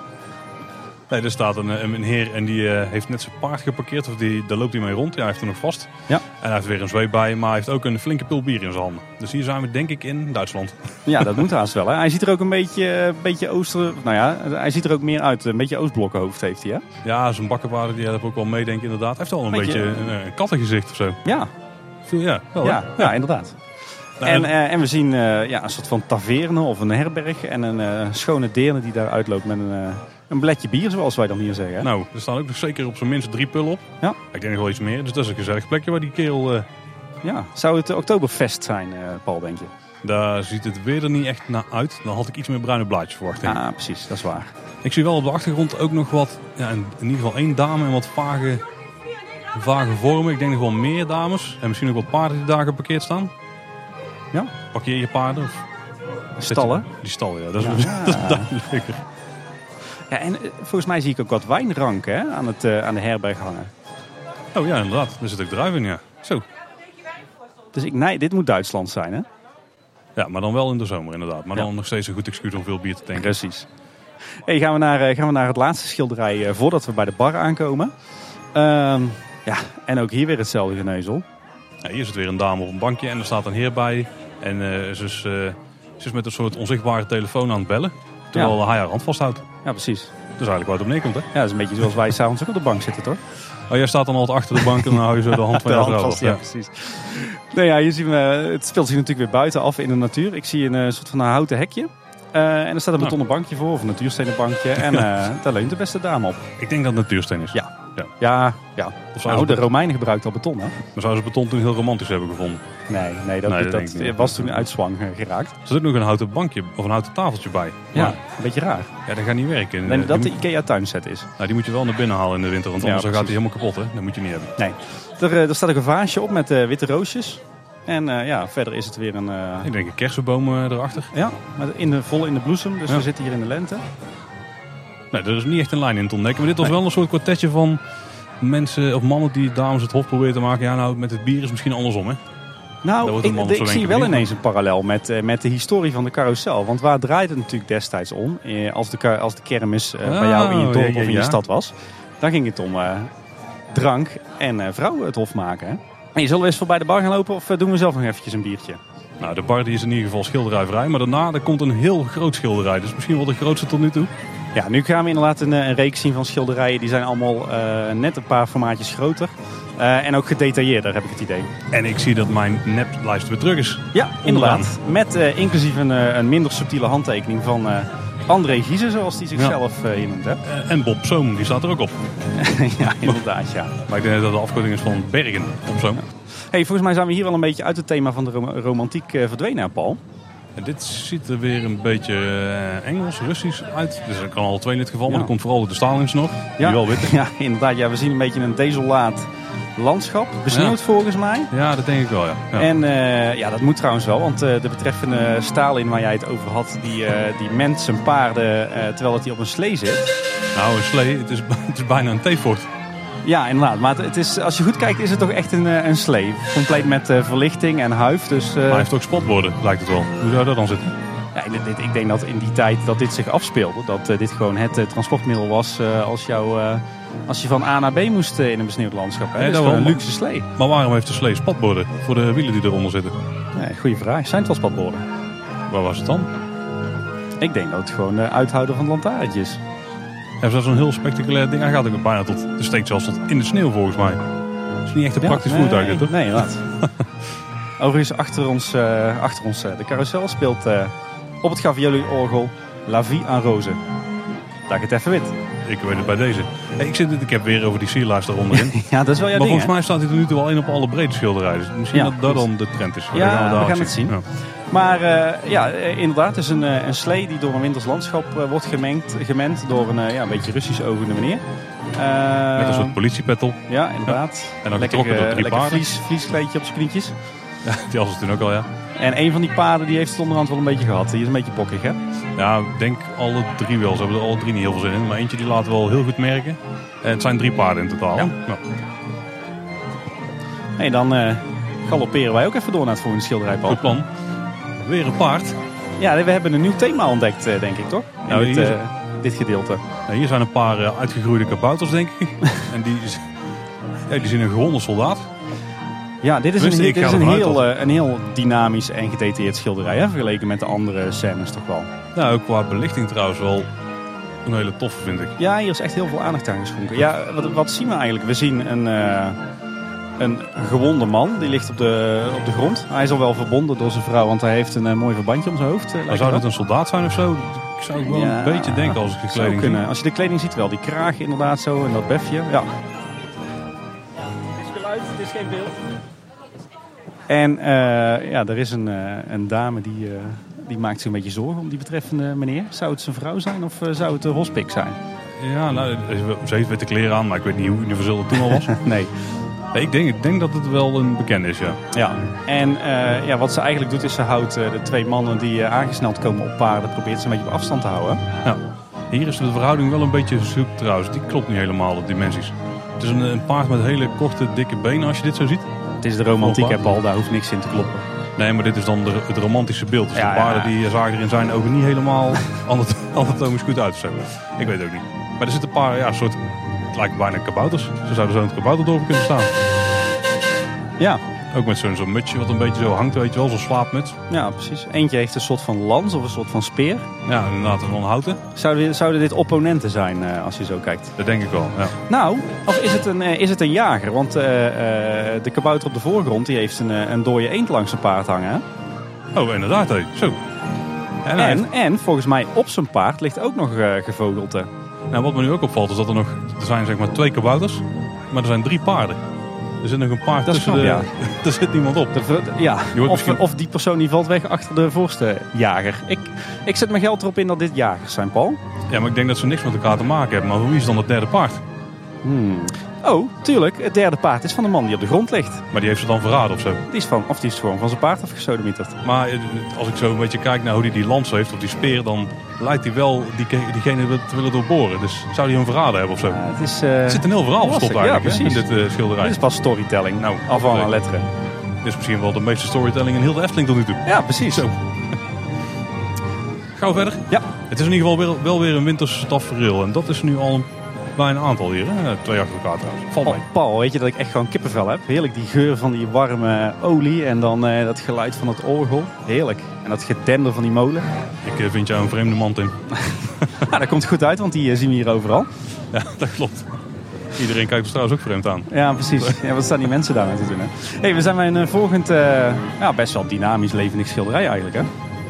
Nee, er staat een, een, een heer en die eh, heeft net zijn paard geparkeerd. Of die, daar loopt hij mee rond. Ja, hij heeft hem nog vast.
Ja.
En hij heeft weer een zweep bij, maar hij heeft ook een flinke pil bier in zijn handen. Dus hier zijn we denk ik in Duitsland.
Ja, dat moet haast wel. Hè? Hij ziet er ook een beetje, eh, beetje ooster... Nou ja, hij ziet er ook meer uit. Een beetje oostblokkenhoofd heeft hij, hè?
Ja, zijn bakkenpaarden die hebben ook wel meedenken inderdaad. Hij heeft al een
Beetje-
beetje, een, een kattengezicht of zo.
Ja,
Ja, wel, hè?
ja, ja inderdaad.
Nou,
en, eh, en we zien eh, ja, een soort van taverne of een herberg en een eh, schone deerne die daar uitloopt met een, eh, een bledje bier, zoals wij dan hier zeggen. Hè?
Nou, er staan ook nog zeker op zijn minst drie pullen op.
Ja.
Ik denk nog wel iets meer. Dus dat is een gezellig plekje waar die kerel... eh,
Ja. Zou het eh, Oktoberfest zijn, eh, Paul, denk je?
daar ziet het weer er niet echt naar uit. Dan had ik iets meer bruine blaadjes verwacht. denk ik.
Ah, precies, dat is waar.
Ik zie wel op de achtergrond ook nog wat... Ja, in, in ieder geval één dame en wat vage, vage vormen. Ik denk nog wel meer dames. En misschien ook wat paarden die daar geparkeerd staan.
Ja.
Parkeer je paarden. Of zet je-
Stallen.
Die stallen, ja. Dat is,
Ja.
dat is duidelijker.
Ja, en eh, volgens mij zie ik ook wat wijnranken hè, aan, het, eh, aan de herberg hangen.
Oh ja, inderdaad. Er zit ook druif in, ja. Zo.
Dus ik, nee, dit moet Duitsland zijn, hè?
Ja, maar dan wel in de zomer inderdaad. Maar
Ja.
dan nog steeds een goed excuus om veel bier te tanken.
Precies. Hey, gaan, we naar, eh, gaan we naar het laatste schilderij eh, voordat we bij de bar aankomen. Ehm, ja, en ook hier weer hetzelfde geneuzel.
Ja, hier zit weer een dame op een bankje en er staat een heer bij. En eh, ze, is, eh, ze is met een soort onzichtbare telefoon aan het bellen. Terwijl hij haar hand vasthoudt. Dat
Ja, precies.
is eigenlijk waar het op neerkomt, hè?
Ja, dat is een beetje zoals wij s'avonds ook op de bank zitten, toch?
Oh, jij staat dan altijd achter de bank en dan hou je zo de hand van
De
jou
hand
vrouw
vast, ja,
af.
precies. Nou ja, hier zien we, het speelt zich natuurlijk weer buiten af in de natuur. Ik zie een eh, soort van een houten hekje. Eh, en er staat een
Nou.
betonnen bankje voor, of een natuurstenen bankje. En eh, daar leunt de beste dame op.
Ja. Ik denk dat het natuursteen is.
Ja,
Ja.
ja. ja.
Of zouden,
Nou, de
ze,
Romeinen gebruikten al beton, hè?
maar zouden ze beton toen heel romantisch hebben gevonden?
Nee, nee dat,
Nee, dat
dat,
denk ik niet.
was toen uit zwang eh, geraakt.
Er zit ook nog een houten bankje of een houten tafeltje bij.
Ja,
Maar,
een beetje raar.
ja, dat gaat niet werken.
Ik denk
Eh,
dat de
die, moet,
IKEA tuinset is.
nou, die moet je wel naar binnen halen in de winter, want
Ja,
anders dan gaat hij
precies.
helemaal kapot. Hè? Dat moet je niet hebben.
Nee. Er, eh, er staat ook een vaasje op met eh, witte roosjes. En eh, ja, verder is het weer een... eh,
Ik denk een kersenboom eh, erachter.
ja, met in de, vol in de bloesem. Dus
Ja.
we zitten hier in de lente.
Nee, er is niet echt een lijn in te ontdekken. Maar dit was wel een soort kwartetje van mensen of mannen die dames het hof proberen te maken. Ja, nou, met het bier is het misschien andersom, hè? Daar
Nou,
wordt een
ik,
man op
ik
zo'n
zie
winkel
wel
niet,
ineens een parallel met, eh, met de historie van de carousel. Want waar draait het natuurlijk destijds om? Eh, als, de, ka- als de kermis eh, bij jou in je
Oh,
dorp
ja, ja,
of in je
ja.
stad was. Dan ging het om eh, drank en eh, vrouwen het hof maken. Hè? Hey, zullen we eens voorbij de bar gaan lopen of eh, doen we zelf nog eventjes een biertje?
Nou, de bar die is in ieder geval schilderijvrij. Maar daarna daar komt een heel groot schilderij. Dus misschien wel de grootste tot nu toe.
Ja, nu gaan we inderdaad een, eh, een reeks zien van schilderijen. Die zijn allemaal eh, net een paar formaatjes groter. Eh, en ook gedetailleerder, heb ik het idee.
En ik zie dat mijn neplijst weer terug is.
Ja, inderdaad. Met eh, inclusief een, eh, een minder subtiele handtekening van eh, André Giezen, zoals hij zichzelf eh, hier noemt. Hè?
Eh, en Bob Zoom, die staat er ook op.
ja, inderdaad, ja.
Maar ik denk dat dat de afkorting is van Bergen, Bob Zoom.
Hey, volgens mij zijn we hier wel een beetje uit het thema van de rom- romantiek eh, verdwenen, hè, Paul.
En dit ziet er weer een beetje eh, Engels, Russisch uit. Dus dat kan al twee in dit geval. Maar
Ja.
dat komt vooral door de Stalins nog. Die wel witte.
Ja, inderdaad. Ja, we zien een beetje een desolaat landschap. Besneeuwd volgens mij.
Ja, dat denk ik wel, ja. ja.
En eh, ja, dat moet trouwens wel, want eh, de betreffende Stalin waar jij het over had, die, eh die ment zijn paarden eh, terwijl dat hij op een slee zit.
Nou, een slee, het is, het is bijna een theefort.
Ja, inderdaad. Maar het, het is, als je goed kijkt is het toch echt een, eh, een slee. Compleet met eh, verlichting en huif. Dus eh,
Maar hij heeft ook spotborden, lijkt het wel. Hoe zou dat dan zitten?
ja, dit, dit- ik denk dat in die tijd dat dit zich afspeelde, dat eh, dit gewoon het eh, transportmiddel was eh, als, jou, eh, als je van A naar B moest eh, in een besneeuwd landschap. Hè?
Nee,
dat
dat
is gewoon een
wel.
luxe slee.
Maar waarom heeft de slee spatborden voor de wielen die eronder zitten?
Nee, goeie vraag. Zijn het wel spatborden?
Waar was het dan?
Ik denk dat het gewoon eh, uithouden van lantaarntjes.
Hebben ze daar zo'n heel spectaculair ding? Hij gaat ook bijna tot, de steekt zelfs tot in de sneeuw volgens mij. Het is niet echt een praktisch
nee,
voertuig, dit, toch?
Nee, inderdaad. Overigens, achter ons, eh, achter ons eh, de carousel speelt eh, op het Gavioli-orgel La Vie en Rose. Daar gaat het even wit.
Ik weet het bij deze. Hey, ik, zit, ik heb weer over die sierlijst eronder in. maar
Ja, dat is wel jouw ding,
volgens mij staat hij tot nu toe al in op alle breedte schilderijen. Dus misschien
Ja,
dat dat
goed.
dan de trend is.
Ja,
daar
we
wel
gaan
zien.
het zien. Maar eh, ja, eh, inderdaad, het is een, eh, een slee die door een winters landschap eh, wordt gemengd, gemend door een, eh, ja, een beetje Russisch ogende meneer. Eh,
Met een soort politiepet op.
Ja, inderdaad.
En dan
lekker
getrokken door
eh,
drie
lekker
paarden.
vlies, vlieskleedje op zijn knietjes.
Die was het toen ook al, ja.
En een van die paarden die heeft het onderhand wel een beetje gehad. Die is een beetje bokkig, hè?
Ja, ik denk alle drie wel. Ze hebben er alle drie niet heel veel zin in. Maar eentje die laten we wel heel goed merken. En het zijn drie paarden in totaal.
Ja.
Nou,
Hey, dan eh, galopperen wij ook even door naar het volgende schilderij, Paul.
goed plan. Weer een paard.
Ja, we hebben een nieuw thema ontdekt, eh, denk ik, toch? In
Nou,
dit,
hier is-
eh, dit gedeelte.
Nou, hier zijn een paar eh, uitgegroeide kabouters, denk ik. en die, ja, die zien een gewonde soldaat.
Ja, dit is, een,
Tenminste, ik
dit
ga
is een,
ervan uit
heel,
dat-
eh, een heel dynamisch en gedetailleerd schilderij, hè, vergeleken met de andere scènes toch wel.
Nou, ook qua belichting trouwens wel een hele toffe, vind ik.
Ja, hier is echt heel veel aandacht aan geschonken. Ja, wat, wat zien we eigenlijk? We zien een, eh, een gewonde man, die ligt op de, op de grond. Hij is al wel verbonden door zijn vrouw, want hij heeft een eh, mooi verbandje om zijn hoofd. eh, lijkt
Maar
het
zou
wel.
dat een soldaat zijn of zo? Ik zou ook wel
Ja,
een beetje denken als ik de
Zou
kleding zie.
kunnen. Als je de kleding ziet wel, die kraag inderdaad zo en dat befje. Ja. Het is geluid, het is geen beeld. En eh, ja, er is een, eh, een dame die, eh, die maakt zich een beetje zorgen om die betreffende meneer. Zou het zijn vrouw zijn of eh, zou het de hospik zijn?
Ja, nou, ze heeft witte kleren aan, maar ik weet niet hoe universeel het toen al was.
Nee.
Nee, ik, denk, ik denk dat het wel een bekende is, ja.
Ja. En eh, ja, wat ze eigenlijk doet is ze houdt eh, de twee mannen die eh, aangesneld komen op paarden, probeert ze een beetje op afstand te houden.
Ja. Nou, Hier is de verhouding wel een beetje zoek trouwens. Die klopt niet helemaal, de dimensies. Het is een, een paard met hele korte, dikke benen als je dit zo ziet.
Het is de romantiek, hè, Paul, daar hoeft niks in te kloppen.
Nee, maar dit is dan de, het romantische beeld. Dus
Ja,
de paarden
ja.
die zagen er in zijn ogen niet helemaal anat- anatomisch goed uit. of Zo. Ik weet het ook niet. Maar er zitten een paar, ja, soort, het lijkt bijna kabouters. Ze zouden zo in het kabouterdorp kunnen staan.
Ja,
Ook met zo'n zo'n mutsje wat een beetje zo hangt, weet je wel, zo'n slaapmuts.
ja, precies. Eentje heeft een soort van lans of een soort van speer.
Ja, inderdaad, van houten.
Zouden, zouden dit opponenten zijn eh, als je zo kijkt?
Dat denk ik wel, ja.
Nou, of is het een, eh, is het een jager? Want eh, eh, de kabouter op de voorgrond die heeft een, eh, een dode eend langs zijn paard hangen. hè?
Oh, inderdaad, hé. Zo. En, hij heeft-
En, en volgens mij op zijn paard ligt ook nog eh, gevogelte.
nou, wat me nu ook opvalt is dat er nog, er zijn zeg maar twee kabouters, maar er zijn drie paarden. Er zit nog een paard
Dat is
tussen
knap,
de... er zit niemand op.
De ver- ja,
Je wordt
of,
misschien-
of die persoon die valt weg achter de voorste jager. Ik, ik zet mijn geld erop in dat dit jagers zijn, Paul.
Ja, maar ik denk dat ze niks met elkaar te maken hebben. Maar wie is dan het derde paard?
Oh, tuurlijk. Het derde paard is van de man die op de grond ligt.
Maar die heeft ze dan verraden of zo.
Die is van, of die is gewoon van zijn paard afgesodemieterd.
Maar eh, als ik zo een beetje kijk naar hoe die die lans heeft of die speer, dan lijkt hij wel dieke- diegene te willen doorboren. Dus zou hij hem verraden hebben of zo?
Eh, het is, eh,
Er zit een heel verhaal verstopt
lastig, ja,
eigenlijk hè, in
precies.
dit eh, schilderij.
dit is pas storytelling.
Nou,
Nou, afval
oké.
aan letteren.
Dit is misschien wel de meeste storytelling in heel de Efteling tot nu toe.
Ja, precies.
Zo. Gauw verder.
Ja.
Het is in ieder geval wel, wel weer een winterse tafereel. En dat is nu al een- bij een aantal hier. Hè? Twee achter elkaar trouwens. Valt
Oh,
mee.
Paul, weet je dat ik echt gewoon kippenvel heb? Heerlijk, die geur van die warme olie en dan eh, dat geluid van het orgel. Heerlijk. En dat gedender van die molen.
Ik eh, vind jou een vreemde man, Tim.
Nou, dat komt goed uit, want die eh, zien we hier overal.
Ja, dat klopt. Iedereen kijkt ons trouwens ook vreemd aan.
Ja, precies. Ja, wat staan die mensen daar aan te doen? Hè? Hey, we zijn bij een eh, volgend, eh, ja, best wel dynamisch levendig schilderij eigenlijk. Hè?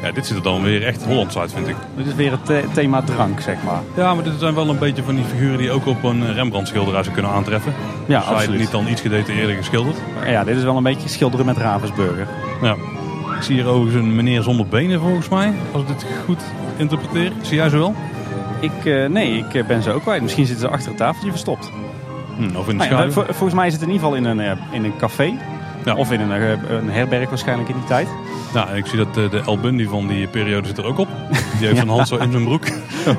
Ja, dit ziet er dan weer echt Hollands uit, vind ik.
Dit is weer het eh, thema drank, zeg maar.
Ja, maar dit zijn wel een beetje van die figuren die ook op een Rembrandt schilderij zou kunnen aantreffen.
Ja,
Zij
absoluut.
niet dan iets gedetailleerder geschilderd.
Ja, dit is wel een beetje schilderen met Ravensburger.
Ja. Ik zie hier overigens een meneer zonder benen volgens mij, als ik dit goed interpreteer. Zie jij ze wel?
Ik, eh, nee, ik eh, ben ze ook kwijt. Misschien zitten ze achter het tafeltje verstopt.
Hm, of in de
Nou ja,
schaduw?
vol- volgens mij is het in ieder geval in een, eh, in een café.
Ja.
Of in een, eh, een herberg waarschijnlijk in die tijd.
Nou, en ik zie dat eh, de El Bundy van die periode zit er ook op. Die heeft een hand zo in zijn broek.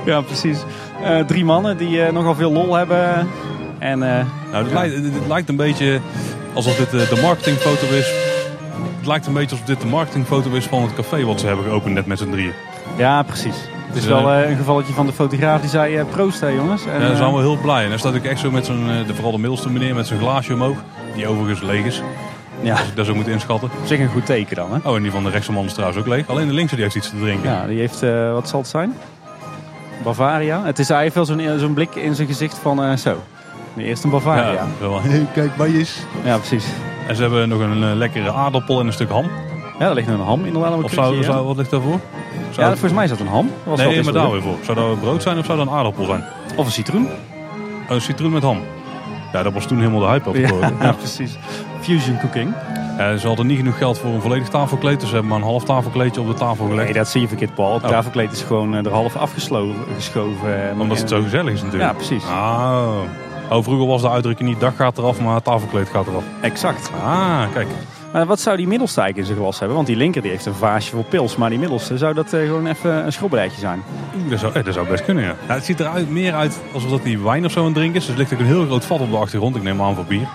Ja, precies. Eh, drie mannen die eh, nogal veel lol hebben. En eh,
Nou, dit, lijkt, dit- dit lijkt een beetje alsof dit eh, de marketingfoto is. Het lijkt een beetje alsof dit de marketingfoto is van het café wat ze hebben geopend net met z'n drieën.
ja, precies. Het is
Dus,
wel eh, een gevalletje van de fotograaf die zei, eh proost hè jongens. En,
Ja, ze
eh,
zijn wel heel blij. En dan staat ook echt zo met zo'n, eh, de, vooral de middelste meneer met zijn glaasje omhoog. Die overigens leeg is,
ja,
als ik dat zo moet inschatten.
op zich een goed teken dan hè.
Oh, en die van de rechtse man is trouwens ook leeg. Alleen de linkse die heeft iets te drinken.
Ja, die heeft, eh, wat zal het zijn? Bavaria. Het is eigenlijk wel zo'n eh, zo'n blik in zijn gezicht van eh, zo. Nu eerst een
Ja,
Bavaria. Ja,
wel. Hey, kijk, bij is.
precies.
En ze hebben nog een eh, lekkere aardappel en een stuk ham.
Ja, daar ligt nog een ham inderdaad. op een
Of zou,
krukje, ja.
zou, wat ligt daarvoor?
Ja,
Zou,
volgens mij is dat een ham. Dat was wel
nee, maar
gisteren,
daar
hoor.
weer voor. Zou dat brood zijn of zou dat een aardappel zijn?
Of een citroen.
Een citroen met ham. Ja, dat was toen helemaal de hype op. geworden.
Ja, precies. Fusion cooking.
Eh, ze hadden niet genoeg geld voor een volledig tafelkleed, dus ze hebben maar een half tafelkleedje op de tafel gelegd.
Nee, dat zie je verkeerd, Paul. Het
Oh.
tafelkleed is gewoon eh, er half afgesloven. Geschoven, eh,
Omdat
eh,
het zo gezellig is natuurlijk.
Ja, precies.
Ah. Oh, vroeger was de uitdrukking niet dak gaat eraf, maar tafelkleed gaat eraf.
Exact.
Ah, kijk.
Maar wat zou die middelste eigenlijk in zijn glas hebben? Want die linker die heeft een vaasje voor pils. Maar die middelste zou dat eh, gewoon even een schrobberijtje zijn.
Oeh, dat, zou, eh, dat zou best kunnen, ja. Nou, het ziet eruit meer uit alsof dat die wijn of zo aan het drinken is. Dus er ligt ook een heel groot vat op de achtergrond. Ik neem aan voor bier.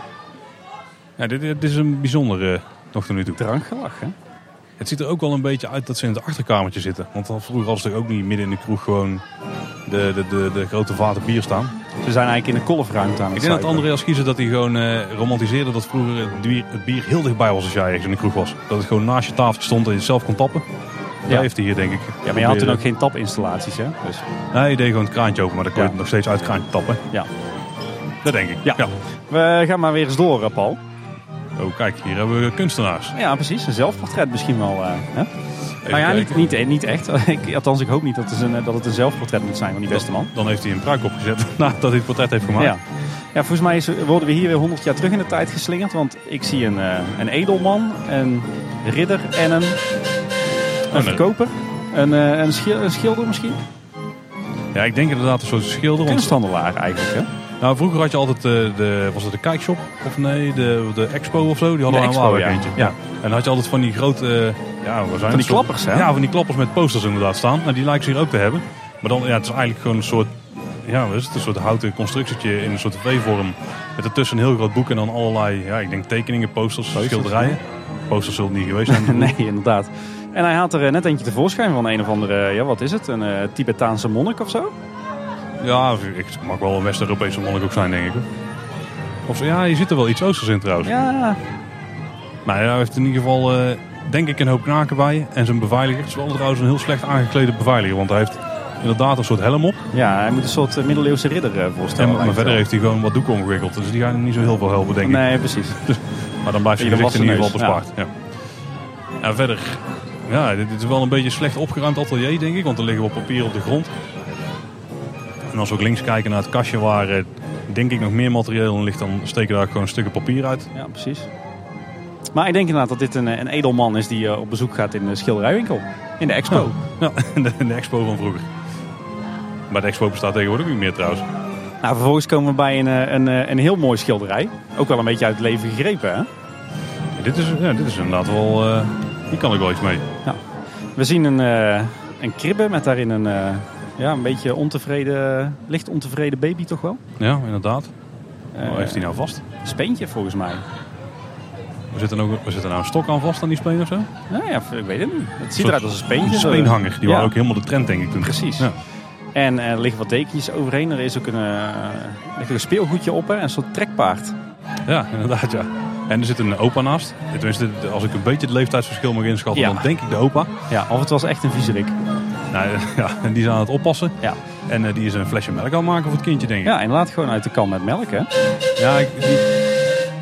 Ja, dit, dit is een bijzonder eh, nog tot nu toe.
Drankgelach, hè?
Het ziet er ook wel een beetje uit dat ze in het achterkamertje zitten. Want dan vroeger hadden ze toch ook niet midden in de kroeg gewoon de, de, de, de grote vaten bier staan.
Ze zijn eigenlijk in de kolfruimte aan het
Ik denk dat
zuipen.
Andreas Kiezer dat hij gewoon eh, romantiseerde dat vroeger het bier, het bier heel dichtbij was als jij ergens in de kroeg was. Dat het gewoon naast je tafeltje stond en je het zelf kon tappen. Ja.
Ja.
Dat heeft hij hier denk ik.
Ja, maar je had toen ook geen tapinstallaties, hè? Dus,
Nee, je deed gewoon het kraantje open, maar dan kon je
Ja.
het nog steeds uit het kraantje tappen.
ja.
Dat denk ik.
Ja. We gaan maar weer eens door, hè, Paul.
Oh kijk, hier hebben we kunstenaars.
Ja, precies. Een zelfportret misschien wel. eh, hè?
Even
Nou ja, niet,
kijken.
niet, niet echt. Ik, althans, ik hoop niet dat het, een, eh, dat het een zelfportret moet zijn van die beste man.
Dan heeft hij een pruik opgezet nadat hij het portret heeft gemaakt.
Ja. ja, volgens mij is- worden we hier weer 100 jaar terug in de tijd geslingerd. Want ik zie een, eh, een edelman, een ridder en een, een verkoper. Een, eh, een, schil- een schilder misschien?
Ja, ik denk inderdaad een soort schilder. Want,
Kunsthandelaar eigenlijk, hè?
nou, vroeger had je altijd eh, de, was het de kijkshop of nee, de, de expo of zo. Die hadden
De
we
Expo,
aan Waalwijk
ja.
eentje.
Ja.
En dan had je altijd van die grote, eh, ja, we zijn het,
die
soort-
klappers, hè?
Ja, van die klappers met posters inderdaad staan. Nou, die lijken ze hier ook te hebben. Maar dan, ja, het is eigenlijk gewoon een soort, ja, wat is het? Een soort houten constructietje in een soort V-vorm. Met ertussen een heel groot boek en dan allerlei, ja, ik denk tekeningen, posters, schilderijen. Posters zullen het niet geweest zijn.
nee, inderdaad. En hij haalt er eh, net eentje tevoorschijn van een of andere, eh, ja, wat is het? Een eh, Tibetaanse monnik of zo?
ja, het mag wel een West-Europese monnik ook zijn, denk ik. hoor. Of, ja, je zit er wel iets Oosters in trouwens.
Ja,
Nou ja, hij heeft in ieder geval, eh, denk ik, een hoop knaken bij. En zijn beveiliger, het is wel trouwens een heel slecht aangeklede beveiliger. Want hij heeft inderdaad een soort helm op.
ja hij moet een soort eh, middeleeuwse ridder eh, voorstellen.
En, maar
lijkt
verder
wel.
heeft hij gewoon wat doeken omgewikkeld. Dus die gaan hem niet zo heel veel helpen, denk ik.
Nee, precies.
Maar dan blijft hij
Ieder
gezicht in
was
ieder
een
geval
neus,
bespaard. Ja. En verder Ja, dit, dit is wel een beetje een slecht opgeruimd atelier, denk ik. Want er liggen wel papier op de grond. En als we ook links kijken naar het kastje waar, eh, denk ik, nog meer materieel in ligt... dan steken daar gewoon stukken papier uit.
Ja, precies. Maar ik denk inderdaad dat dit een, eh, een edelman is die eh, op bezoek gaat in de schilderijwinkel. In de expo.
Ja, de, de expo van vroeger. Maar de expo bestaat tegenwoordig ook niet meer trouwens.
Nou, vervolgens komen we bij een, eh, een, eh, een heel mooi schilderij. Ook wel een beetje uit het leven gegrepen. Hè?
Ja, dit, is, ja, dit is inderdaad wel... eh, hier kan ik wel iets mee.
We zien een, eh, een kribbe met daarin een, eh, ja, een beetje ontevreden, licht ontevreden baby toch wel.
Ja, inderdaad.
Eh,
Waar heeft hij nou vast?
Speentje volgens mij.
We zitten, ook, we zitten nou een stok aan vast aan die speen of zo?
Nou ja, ik weet het niet. Het ziet
Zo'n-
eruit als een speentje.
Een
zo.
speenhanger. Die
Ja.
waren ook helemaal de trend, denk ik, toen.
Precies.
Ja.
En eh, er liggen wat dekentjes overheen. Er is ook een, eh, er ligt ook een speelgoedje op, hè? een soort trekpaard.
Ja, inderdaad, ja. En er zit een opa naast. Tenminste, als ik een beetje het leeftijdsverschil mag inschatten,
Ja.
dan denk ik de opa.
Ja, of het was echt een viezerik.
Nou, ja, en die is aan het oppassen.
Ja.
En eh, die is een flesje melk aan het maken voor het kindje, denk ik.
Ja, en laat gewoon uit de kan met melk, hè?
Ja, ik- die,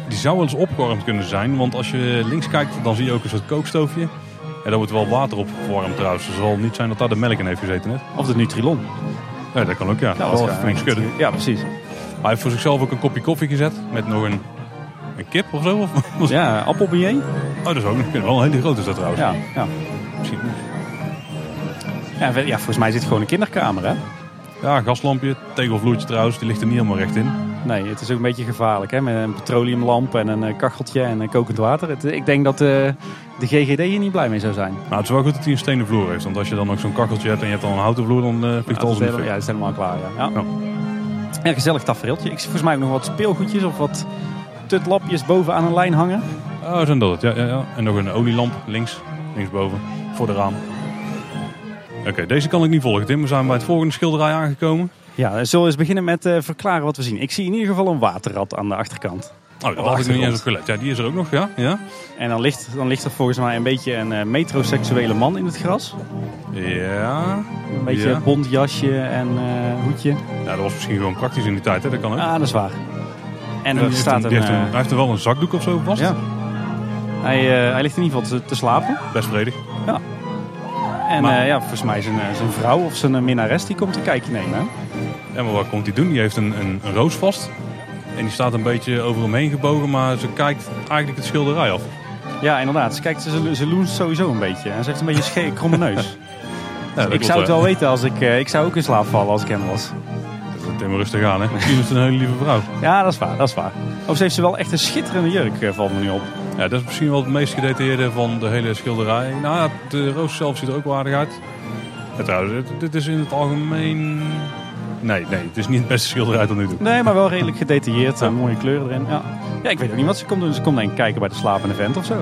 die zou wel eens opgewarmd kunnen zijn. Want als je links kijkt, dan zie je ook een soort kookstoofje. En daar wordt wel water op verwarmd trouwens. Dus het zal niet zijn dat daar de melk in heeft gezeten net.
Of de Nutrilon.
Ja, dat kan ook, ja.
Nou,
wel
dat
even
is-
flink Oh, schudden.
Ja, precies.
Hij heeft voor zichzelf ook een kopje koffie gezet. Met nog een, een kip of zo. Of,
Ja, appelbeer.
Oh, dat is ook wel een hele grote is dat trouwens.
Ja, ja.
Misschien,
Ja, we- ja, volgens mij zit het gewoon een kinderkamer, hè?
Ja, gaslampje, tegelvloertje trouwens, die ligt er niet helemaal recht in.
Nee, het is ook een beetje gevaarlijk, hè? Met een petroleumlamp en een eh, kacheltje en eh, kokend water. Het- ik denk dat eh, de GGD hier niet blij mee zou zijn.
Maar het is wel goed dat hij een stenen vloer heeft, want als je dan ook zo'n kacheltje hebt en je hebt dan een houten vloer, dan eh vliegt
ja,
alles in
dat is
de
helemaal,
fik.
ja, dat is helemaal klaar, ja. ja.
Ja.
Ja, gezellig tafereeltje. Ik zie volgens mij ook nog wat speelgoedjes of wat tutlapjes boven aan een lijn hangen.
Oh, zijn dat het, ja, ja, ja. En nog een olielamp, links, linksboven, voor de raam. Oké, deze kan ik niet volgen Tim, we zijn bij het volgende schilderij aangekomen. Oh,
Ja, dan zullen we eens beginnen met eh, verklaren wat we zien. Ik zie in ieder geval een waterrad aan de achterkant.
Oh, daar had ik nog
achtergrond.
niet eens op gelet. Ja, die is er ook nog, ja. ja.
En dan ligt, dan ligt er volgens mij een beetje een eh, metroseksuele man in het gras.
Ja.
Een beetje
Ja.
bont jasje en eh, hoedje.
ja, dat was misschien gewoon praktisch in die tijd, hè. dat kan ook.
Ah, dat is waar. En
En
er
die heeft
staat
een-
een...
die heeft een-
eh,
hij heeft er wel een zakdoek of zo vast.
ja. Hij, eh, hij ligt in ieder geval te, te slapen.
Best vredig.
En
Maar-
eh, ja, volgens mij zijn, eh, zijn vrouw of zijn eh, minnares die komt een kijkje nemen. hè?
Ja, maar wat komt hij doen? Die heeft een, een, een roos vast. En die staat een beetje over hem heen gebogen, maar ze kijkt eigenlijk het schilderij af.
Ja, inderdaad. Ze, kijkt, ze, ze, ze loent sowieso een beetje. En ze heeft een beetje een schee- kromme neus.
Ja, dat
ik
klopt,
zou het
ja.
wel weten als ik... eh, ik zou ook in slaap vallen als ik hem was.
Tim, maar rustig aan, hè. Misschien is het een hele lieve vrouw.
Ja, dat is waar. Dat is waar. Of ze heeft ze wel echt een schitterende jurk, eh, valt me nu op.
Ja, dat is misschien wel het meest gedetailleerde van de hele schilderij. Nou ja, de roos zelf ziet er ook wel aardig uit. Ja, trouwens, dit, dit is in het algemeen... Nee, nee, het is niet het beste schilderij tot nu toe.
Nee, maar wel redelijk gedetailleerd.
Ja.
eh, mooie kleuren erin. Ja. ja, ik weet ook niet wat ze komt doen. Ze komt denk ik kijken bij de slapende vent of zo.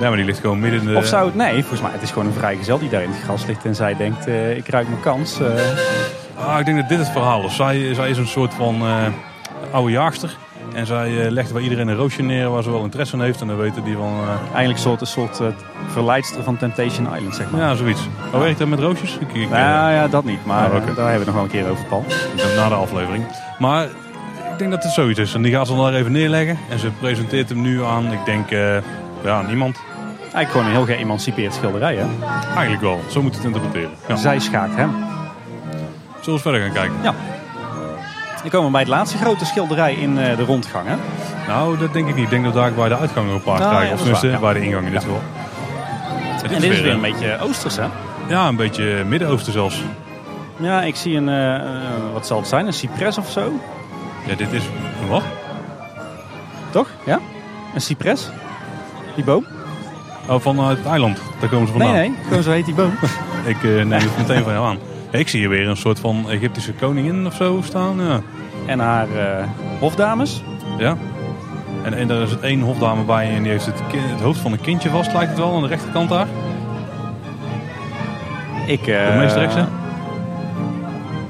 Ja, maar die ligt gewoon midden in de...
Of zou het... Nee, volgens mij het is gewoon een vrijgezel die daar in het gras ligt. En zij denkt, eh, ik ruik mijn kans. eh.
Ah, ik denk dat dit het verhaal is. Zij, zij is een soort van eh, oude jaagster. En zij eh, legt bij iedereen een roosje neer waar ze wel interesse in heeft. En dan weten die van... eh,
Eigenlijk soort, een soort eh, verleidster van Temptation Island, zeg maar.
Ja, zoiets. Hoe werkt dat met roosjes? Ik, ik,
Nou ja, dat niet. Maar
Ah, oké.
eh, daar hebben we het nog wel een keer over, Paul.
eh, Na de aflevering. Maar ik denk dat het zoiets is. En die gaat ze dan daar even neerleggen. En ze presenteert hem nu aan, ik denk, eh, ja, aan iemand.
Eigenlijk gewoon een heel geëmancipeerd schilderij, hè?
Eigenlijk wel. Zo moet je het interpreteren. Ja. Zullen
Zij schaakt hem.
we eens verder gaan kijken?
Dan komen we bij het laatste grote schilderij in eh, de rondgang, hè?
Nou, dat denk ik niet. Ik denk dat we daar bij de uitgang nog een paar
Ah,
krijgen.
ja,
of
dat is waar,
tenminste,
ja.
bij de ingang in dit geval. En
En dit is weer een beetje oosters, hè?
Ja, een beetje Midden-Oosten zelfs.
Ja, ik zie een, eh, eh, wat zal het zijn, een cypres of zo,
Ja, dit is... Wat?
toch? Ja? Een cypres? Die boom?
Oh, van eh, het eiland. Daar komen ze vandaan.
Nee, nee, gewoon zo heet die boom.
Ik eh, neem het meteen van jou aan. Ik zie hier weer een soort van Egyptische koningin of zo staan. Ja.
en haar eh, hofdames.
Ja. En, en daar is het één hofdame bij en die heeft het, kin- het hoofd van een kindje vast, lijkt het wel, aan de rechterkant daar.
Ik, eh,
De meest rechtse.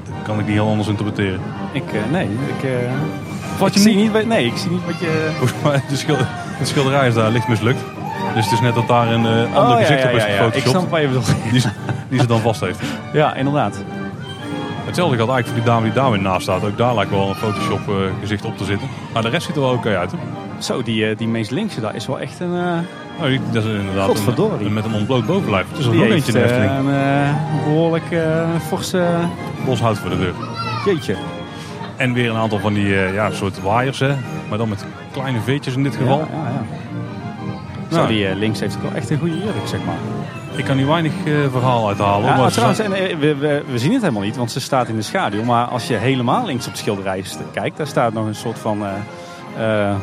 Dat kan ik niet heel anders interpreteren.
Ik, eh, nee, ik... eh,
Wat
ik
je
zie
niet-
niet... wat- Nee, ik zie niet wat je...
Volgens mij, de schil- het schilderij is daar licht mislukt. Dus het is net dat daar een eh,
Oh,
ander
ja,
gezicht
ja,
op is
ja, ja. Ik
gefotoshopt.
snap waar je bedoelt.
Die, ze- die ze dan vast heeft.
Ja, inderdaad.
Hetzelfde geldt eigenlijk voor die dame die daar weer naast staat. Ook daar lijkt wel een Photoshop eh, gezicht op te zitten. Maar de rest ziet er wel oké uit. Hè?
Zo, die, eh, die meest linkse daar is wel echt een, eh,
Oh, die- dat is inderdaad
Godverdorie.
een, met een ontbloot bovenlijf. Het is er nog
Die
eentje in de
heeft,
Efteling.
eh, een eh, behoorlijk eh, forse...
Bos houdt voor de deur.
Jeetje.
En weer een aantal van die eh, ja, soort waaiers, hè. Maar dan met kleine veetjes in dit geval.
Ja, ja, ja.
Nou.
Zo, die eh, links heeft ook wel echt een goede jurk, zeg maar.
Ik kan hier weinig eh, verhaal uithalen.
Ja,
maar
maar
ze
trouwens,
zijn-
en, eh, we, we, we zien het helemaal niet, want ze staat in de schaduw. Maar als je helemaal links op het schilderij st- kijkt, daar staat nog een soort van eh, eh, eh,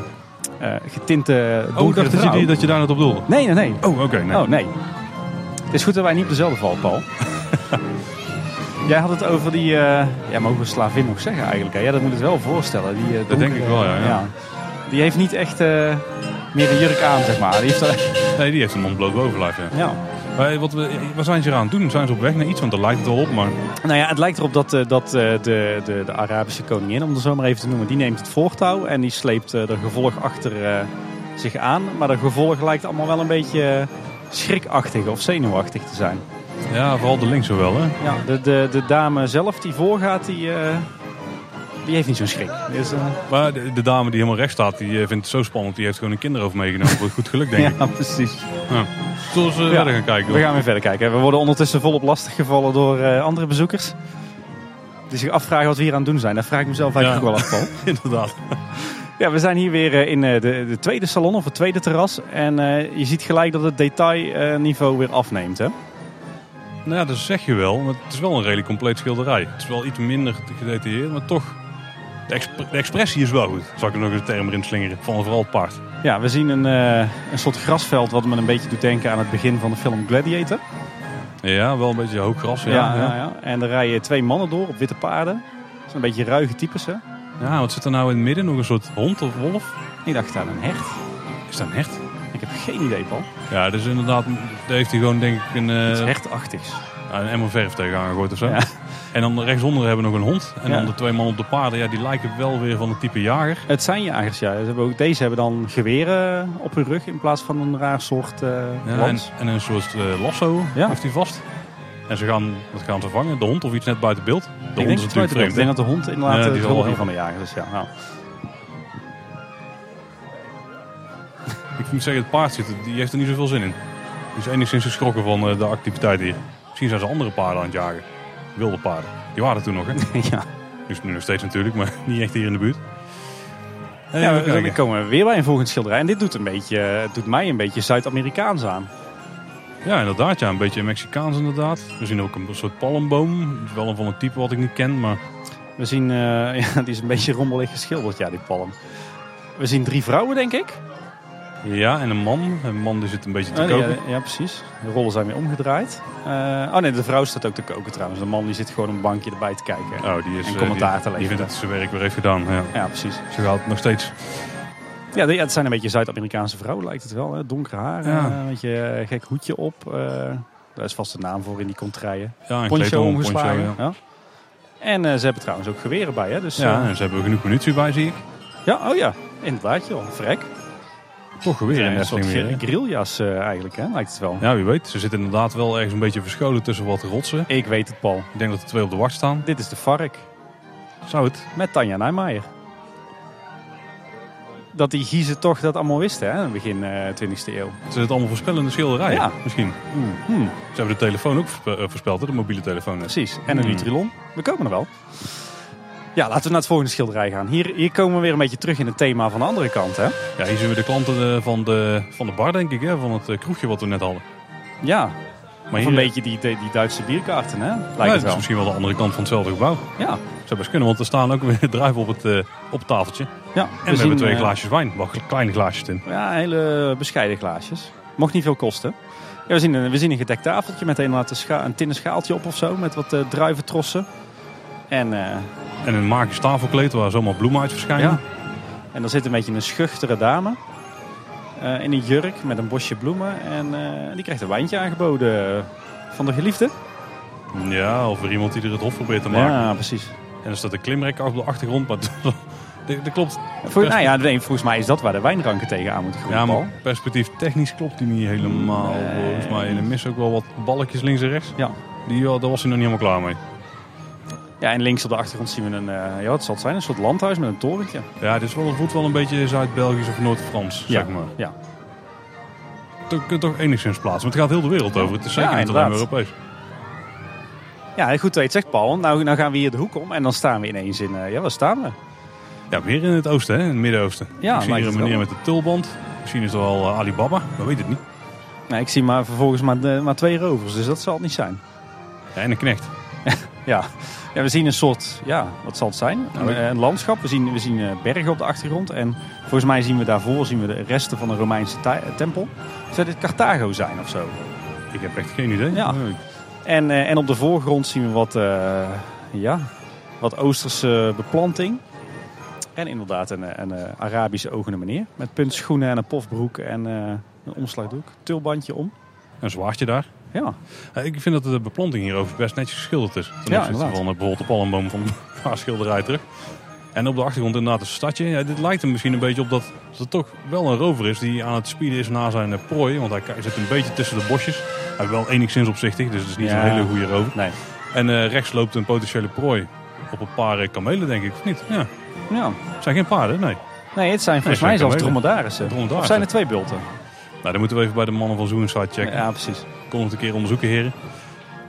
getinte
oh, ik
donkere
dacht dat je,
vrouw.
die- dat je daar net op doelde.
Nee, nee, nee.
Oh, oké. nee.
nou? Oh, nee. Het is goed dat wij niet op dezelfde vallen, Paul. Jij had het over die... eh, ja, mogen we slavin nog zeggen eigenlijk? Hè? Ja, dat moet het wel voorstellen. Die, eh,
Dat denk ik wel, ja, ja.
Die heeft niet echt eh, meer een jurk aan, zeg maar. Die heeft alleen-
Nee, die heeft een ontbloot bovenlijf, ja.
ja.
Wij- wat, we- waar zijn ze eraan doen? Zijn ze op weg naar iets? Want daar lijkt het wel op, maar...
Nou ja, het lijkt erop dat, eh, dat eh, de, de, de Arabische koningin, om het zo maar even te noemen, die neemt het voortouw en die sleept eh, de gevolg achter eh, zich aan. Maar de gevolg lijkt allemaal wel een beetje eh, schrikachtig of zenuwachtig te zijn.
Ja, vooral de linkse wel, hè.
Ja, de, de, de dame zelf die voorgaat, die, eh, die heeft niet zo'n schrik. Dus, eh,
Maar de, de dame die helemaal rechts staat, die eh, vindt het zo spannend. Die heeft gewoon een kinderhoofd meegenomen. Voor goed geluk, denk ik.
ja, precies.
Zullen we eens, eh,
Ja.
verder gaan kijken?
We gaan weer verder kijken. We worden ondertussen volop lastiggevallen door eh, andere bezoekers. Die zich afvragen wat we hier aan het doen zijn. Dat vraag ik mezelf eigenlijk
Ja.
ook wel af, Paul.
Inderdaad.
Ja, we zijn hier weer eh, in eh, de, de tweede salon of het tweede terras. En eh, je ziet gelijk dat het detailniveau weer afneemt. Hè?
Nou ja, dat zeg je wel. Maar het is wel een redelijk compleet schilderij. Het is wel iets minder gedetailleerd, maar toch... De, exp- de expressie is wel goed. Zal ik er nog eens een term in slingeren. Van vooral het paard.
Ja, we zien een, eh, een soort grasveld wat me een beetje doet denken aan het begin van de film Gladiator.
Ja, wel een beetje hoog gras. Ja, ja, ja.
En er rijden twee mannen door op witte paarden. Dat zijn een beetje ruige types, hè?
wat zit er nou in het midden? Nog een soort hond of wolf?
Ik dacht daar een hert.
Is dat een hert?
Ik heb geen idee, Paul.
Ja, dus inderdaad, daar heeft hij gewoon denk ik een,
Het is
eh
hertachtigs.
een emmer verf tegenaan gegooid of zo.
Ja.
En dan rechtsonder hebben we nog een hond. En
Ja.
dan de twee mannen op de paarden, ja, die lijken wel weer van het type jager.
Het zijn jagers, ja. Ze hebben ook- Deze hebben dan geweren op hun rug in plaats van een raar soort eh
Ja, en,
lans.
en een soort eh, lasso
Ja.
heeft hij vast. En ze gaan, wat gaan ze vangen? De hond of iets net buiten beeld? De
Ik
hond
denk,
is
dat
natuurlijk
het- ik
vreemd. hè?
denk dat de hond inderdaad
Ja,
ja,
die
het
zal wel
hulpje
helpen.
van de jager is. Ja, nou.
Ik moet zeggen, het paard zit, er- die heeft er niet zoveel zin in. Die is enigszins geschrokken van eh, de activiteit hier. Misschien zijn ze andere paarden aan het jagen. Wilde paarden. Die waren er toen nog, hè?
ja.
Dus nu nog steeds natuurlijk, maar niet echt hier in de buurt. Eh, En
Ja,
even
we- dan
kijken.
komen we weer bij een volgend schilderij. En dit doet, een beetje, eh, het doet mij een beetje Zuid-Amerikaans aan.
Ja, inderdaad. Ja. Een beetje Mexicaans inderdaad. We zien ook een soort palmboom. Wel een van een type wat ik niet ken, maar...
We zien, eh, ja, die is een beetje rommelig geschilderd, ja, die palm. We zien drie vrouwen, denk ik.
Ja, en een man. Een man die zit een beetje te
Eh,
koken.
ja, ja, precies. De rollen zijn weer omgedraaid. Eh, oh nee, de vrouw staat ook te koken trouwens. De man die zit gewoon op een bankje erbij te kijken.
Oh, die is,
En
eh,
commentaar
die-
te
Die
leveren.
vindt dat ze zijn werk weer heeft gedaan. Ja.
Ja, precies.
Ze gaat het nog steeds.
Ja, de- ja, het zijn een beetje Zuid-Amerikaanse vrouwen, lijkt het wel. Hè? Donkere haren,
Ja.
eh, een beetje eh, gek hoedje op. eh, daar is vast een naam voor in die kontrijen.
Ja, een
Poncho
kleed om,
omgeslagen.
poncho, ja.
ja. En eh, ze hebben trouwens ook geweren bij, hè? Dus, eh,
Ja, en ze hebben genoeg munitie bij, zie ik.
Ja, oh ja, inderdaad joh, vrek.
Toch weer
Ja,
een
een soort
Efteling weer,
gr-
hè?
grilljas eh, eigenlijk, hè, lijkt het wel.
Ja, wie weet. Ze zitten inderdaad wel ergens een beetje verscholen tussen wat rotsen.
Ik weet het, Paul.
Ik denk dat er twee op de wacht staan.
Dit is de vark
Zou het?
met Tanja Nijmeijer. Dat die Giezen toch dat allemaal wisten, hè, in het begin eh 20e eeuw.
Ze zitten allemaal voorspellende schilderijen.
Ja.
Misschien.
Hmm,
Ze hebben de telefoon ook verspe- eh, voorspeld, hè? de mobiele telefoon. net.
precies. En een
Hmm.
Nutrilon. We komen er wel. Ja, laten we naar het volgende schilderij gaan. Hier, hier komen we weer een beetje terug in het thema van de andere kant, hè.
Ja, hier zien we de klanten eh, van de, van de bar, denk ik. Hè? Van het eh, kroegje wat we net hadden.
Ja,
Maar
of
hier,
een beetje die, die, die Duitse bierkaarten, hè, lijkt
Ja,
het
dat is
wel.
misschien wel de andere kant van hetzelfde gebouw.
Ja,
Zou best kunnen, want er staan ook weer druiven op het, eh, op het tafeltje. En
ja.
we, hebben twee
eh,
glaasjes wijn. Wel kleine glaasjes, Tim.
Ja, hele bescheiden glaasjes. Mocht niet veel kosten. Ja, we, zien een, we zien een gedekt tafeltje met inderdaad een, scha- een tinnen schaaltje op of zo. Met wat eh, druiventrossen. En, eh,
En een magisch tafelkleed waar zomaar bloemen uit verschijnen.
ja. en er zit een beetje een schuchtere dame. eh, in een jurk met een bosje bloemen. En eh, die krijgt een wijntje aangeboden van de geliefde.
Ja, of weer iemand die er het hof probeert te maken.
Ja, precies.
En er staat een klimrek op de achtergrond, maar dat- dat dat klopt.
Voor, nou ja, nee, volgens mij is dat waar de wijnranken tegenaan moeten groeien.
Ja,
Paul.
maar perspectief technisch klopt die niet helemaal.
Nee.
Volgens mij en er missen ook wel wat balkjes links en rechts.
Ja.
Die, ja, daar was hij nog niet helemaal klaar mee.
ja, en links op de achtergrond zien we een, eh, ja, wat zal het zijn? Een soort landhuis met een torentje.
Ja, dit is wel, het voelt wel een beetje Zuid-Belgisch of Noord-Frans,
Ja.
zeg maar.
Ja.
toch- kunt toch enigszins plaatsen. Want het gaat heel de wereld over. Het is zeker
Ja,
niet alleen maar
inderdaad.
Europees.
Ja, goed dat je het zegt, Paul. Nou, nou gaan we hier de hoek om en dan staan we ineens in... eh, ja, waar staan we?
Ja, weer in het oosten, hè? in het Midden-Oosten.
Ja,
ik zie
lijkt
hier
het
een
wel.
meneer met de tulband. Misschien is er al eh, Alibaba, we weten het niet.
Nou, ik zie maar vervolgens maar, eh, maar twee rovers, dus dat zal het niet zijn.
Ja, en een knecht.
Ja. ja, we zien een soort, ja, wat zal het zijn? Een,
Nou, ik-
eh, een landschap. We zien, we zien eh, bergen op de achtergrond. En volgens mij zien we daarvoor zien we de resten van een Romeinse ti- eh, tempel. Zou dit Carthago zijn of zo?
Ik heb echt geen idee.
Ja.
Nee.
En, eh, en op de voorgrond zien we wat, eh, ja, wat Oosterse eh, beplanting. En inderdaad een, eh, een eh, Arabische ogende meneer. Met puntschoenen en een pofbroek en eh, een omslagdoek. Tulbandje om.
Een zwaardje daar.
Ja,
Ja, ik vind dat de beplanting hierover best netjes geschilderd is. Ten
Ja,
opzichte
inderdaad.
van eh, bijvoorbeeld de palmboom van een paar schilderij terug. En op de achtergrond inderdaad een stadje. Ja, dit lijkt hem misschien een beetje op dat dat het toch wel een rover is die aan het spieden is naar zijn eh, prooi. Want hij k- zit een beetje tussen de bosjes. Hij is wel enigszins opzichtig, dus het is niet
Ja.
een hele goede rover.
nee.
En eh, rechts loopt een potentiële prooi op een paar eh, kamelen, denk ik, of niet? Ja,
Ja.
het zijn geen paarden, nee.
Nee, het zijn volgens
zijn
mij zelfs
kamelen.
dromedarissen.
Dromedarissen.
Of zijn er twee bulten?
Nou, dan moeten we even bij de mannen van Zoenside checken.
Ja, precies.
Kom het een keer onderzoeken, heren.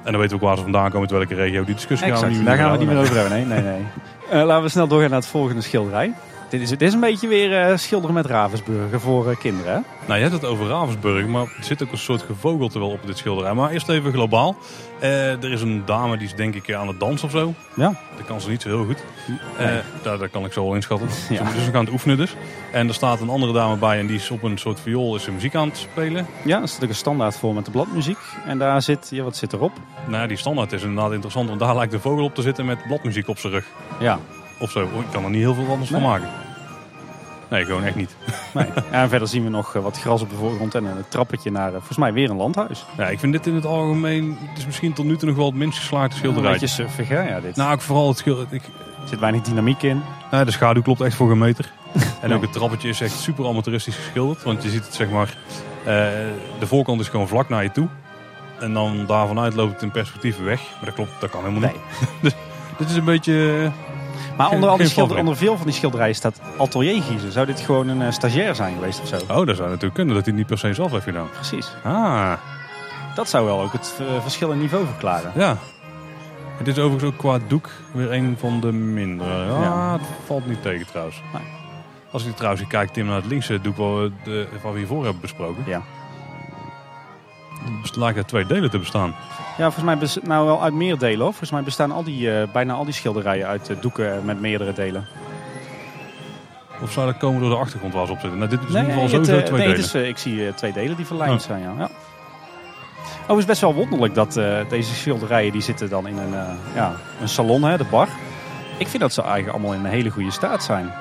En dan weten we ook waar ze vandaan komen, uit welke regio. Die discussie gaan we
Exact.
niet
Daar gaan we het
houden.
niet meer over hebben. Nee, nee, nee. Eh, laten we snel doorgaan naar het volgende schilderij. Dit is, dit is een beetje weer eh, schilderen met Ravensburger voor eh, kinderen. hè?
Nou, je hebt het over Ravensburg, maar er zit ook een soort gevogelte wel op dit schilderij. Maar eerst even globaal. Eh, er is een dame die is denk ik aan het dansen of zo.
Ja.
Dat kan ze niet zo heel goed. Eh daar, daar kan ik zo wel inschatten.
Ja.
Dus we gaan het oefenen dus. En er staat een andere dame bij en die is op een soort viool is ze muziek aan het spelen.
Ja, dat is natuurlijk een standaard voor met de bladmuziek. En daar zit, ja, wat zit erop?
Nou, ja, die standaard is inderdaad interessant, want daar lijkt de vogel op te zitten met bladmuziek op zijn rug.
Ja.
Of zo. Ik kan er niet heel veel anders van
Nee.
maken. Nee, gewoon echt niet.
Nee. Ja, en verder zien we nog eh, wat gras op de voorgrond en een trappetje naar, eh, volgens mij, weer een landhuis.
Ja, ik vind dit in het algemeen, het is misschien tot nu toe nog wel het minst geslaagde
Een
schilderij.
beetje suffig, hè? Ja, dit.
Nou, ik vooral het schilder... Ik,
Er zit weinig dynamiek in.
Nou, de schaduw klopt echt voor een meter. En
Ja.
ook het trappetje is echt super amateuristisch geschilderd. Want je ziet het zeg maar, eh, de voorkant is gewoon vlak naar je toe. En dan daarvanuit loopt het in perspectief weg. Maar dat klopt, dat kan helemaal niet. dus dit is een beetje... eh,
Maar
Geen-
onder, al die
geen
schilder,
favoriet.
onder veel van die schilderijen staat atelier giezen. Zou dit gewoon een eh, stagiair zijn geweest of zo?
Oh, dat zou natuurlijk kunnen dat hij het niet per se zelf heeft gedaan.
Precies.
Ah,
Dat zou wel ook het eh, verschil in niveau verklaren.
ja. Het is overigens ook qua doek weer een van de mindere. Ja,
Ja.
het valt niet tegen trouwens.
Nee.
Als ik trouwens kijk, Tim, naar het linkse doek wat we, de, wat we hiervoor hebben besproken.
Ja.
Dus het lijkt uit twee delen te bestaan.
Ja, volgens mij bes- nou wel uit meer delen hoor. Volgens mij bestaan al die, eh, bijna al die schilderijen uit eh, doeken met meerdere delen.
Of zou dat komen door de achtergrond waar ze op zitten? Nou, dit is in ieder
het,
geval sowieso
eh,
twee
nee, het
delen.
is, eh, ik zie eh, twee delen die verlijnd
Oh.
zijn. Ja. Ja. Oh, het is best wel wonderlijk dat eh, deze schilderijen die zitten dan in een, eh, ja, een salon, hè, de bar. Ik vind dat ze eigenlijk allemaal in een hele goede staat zijn.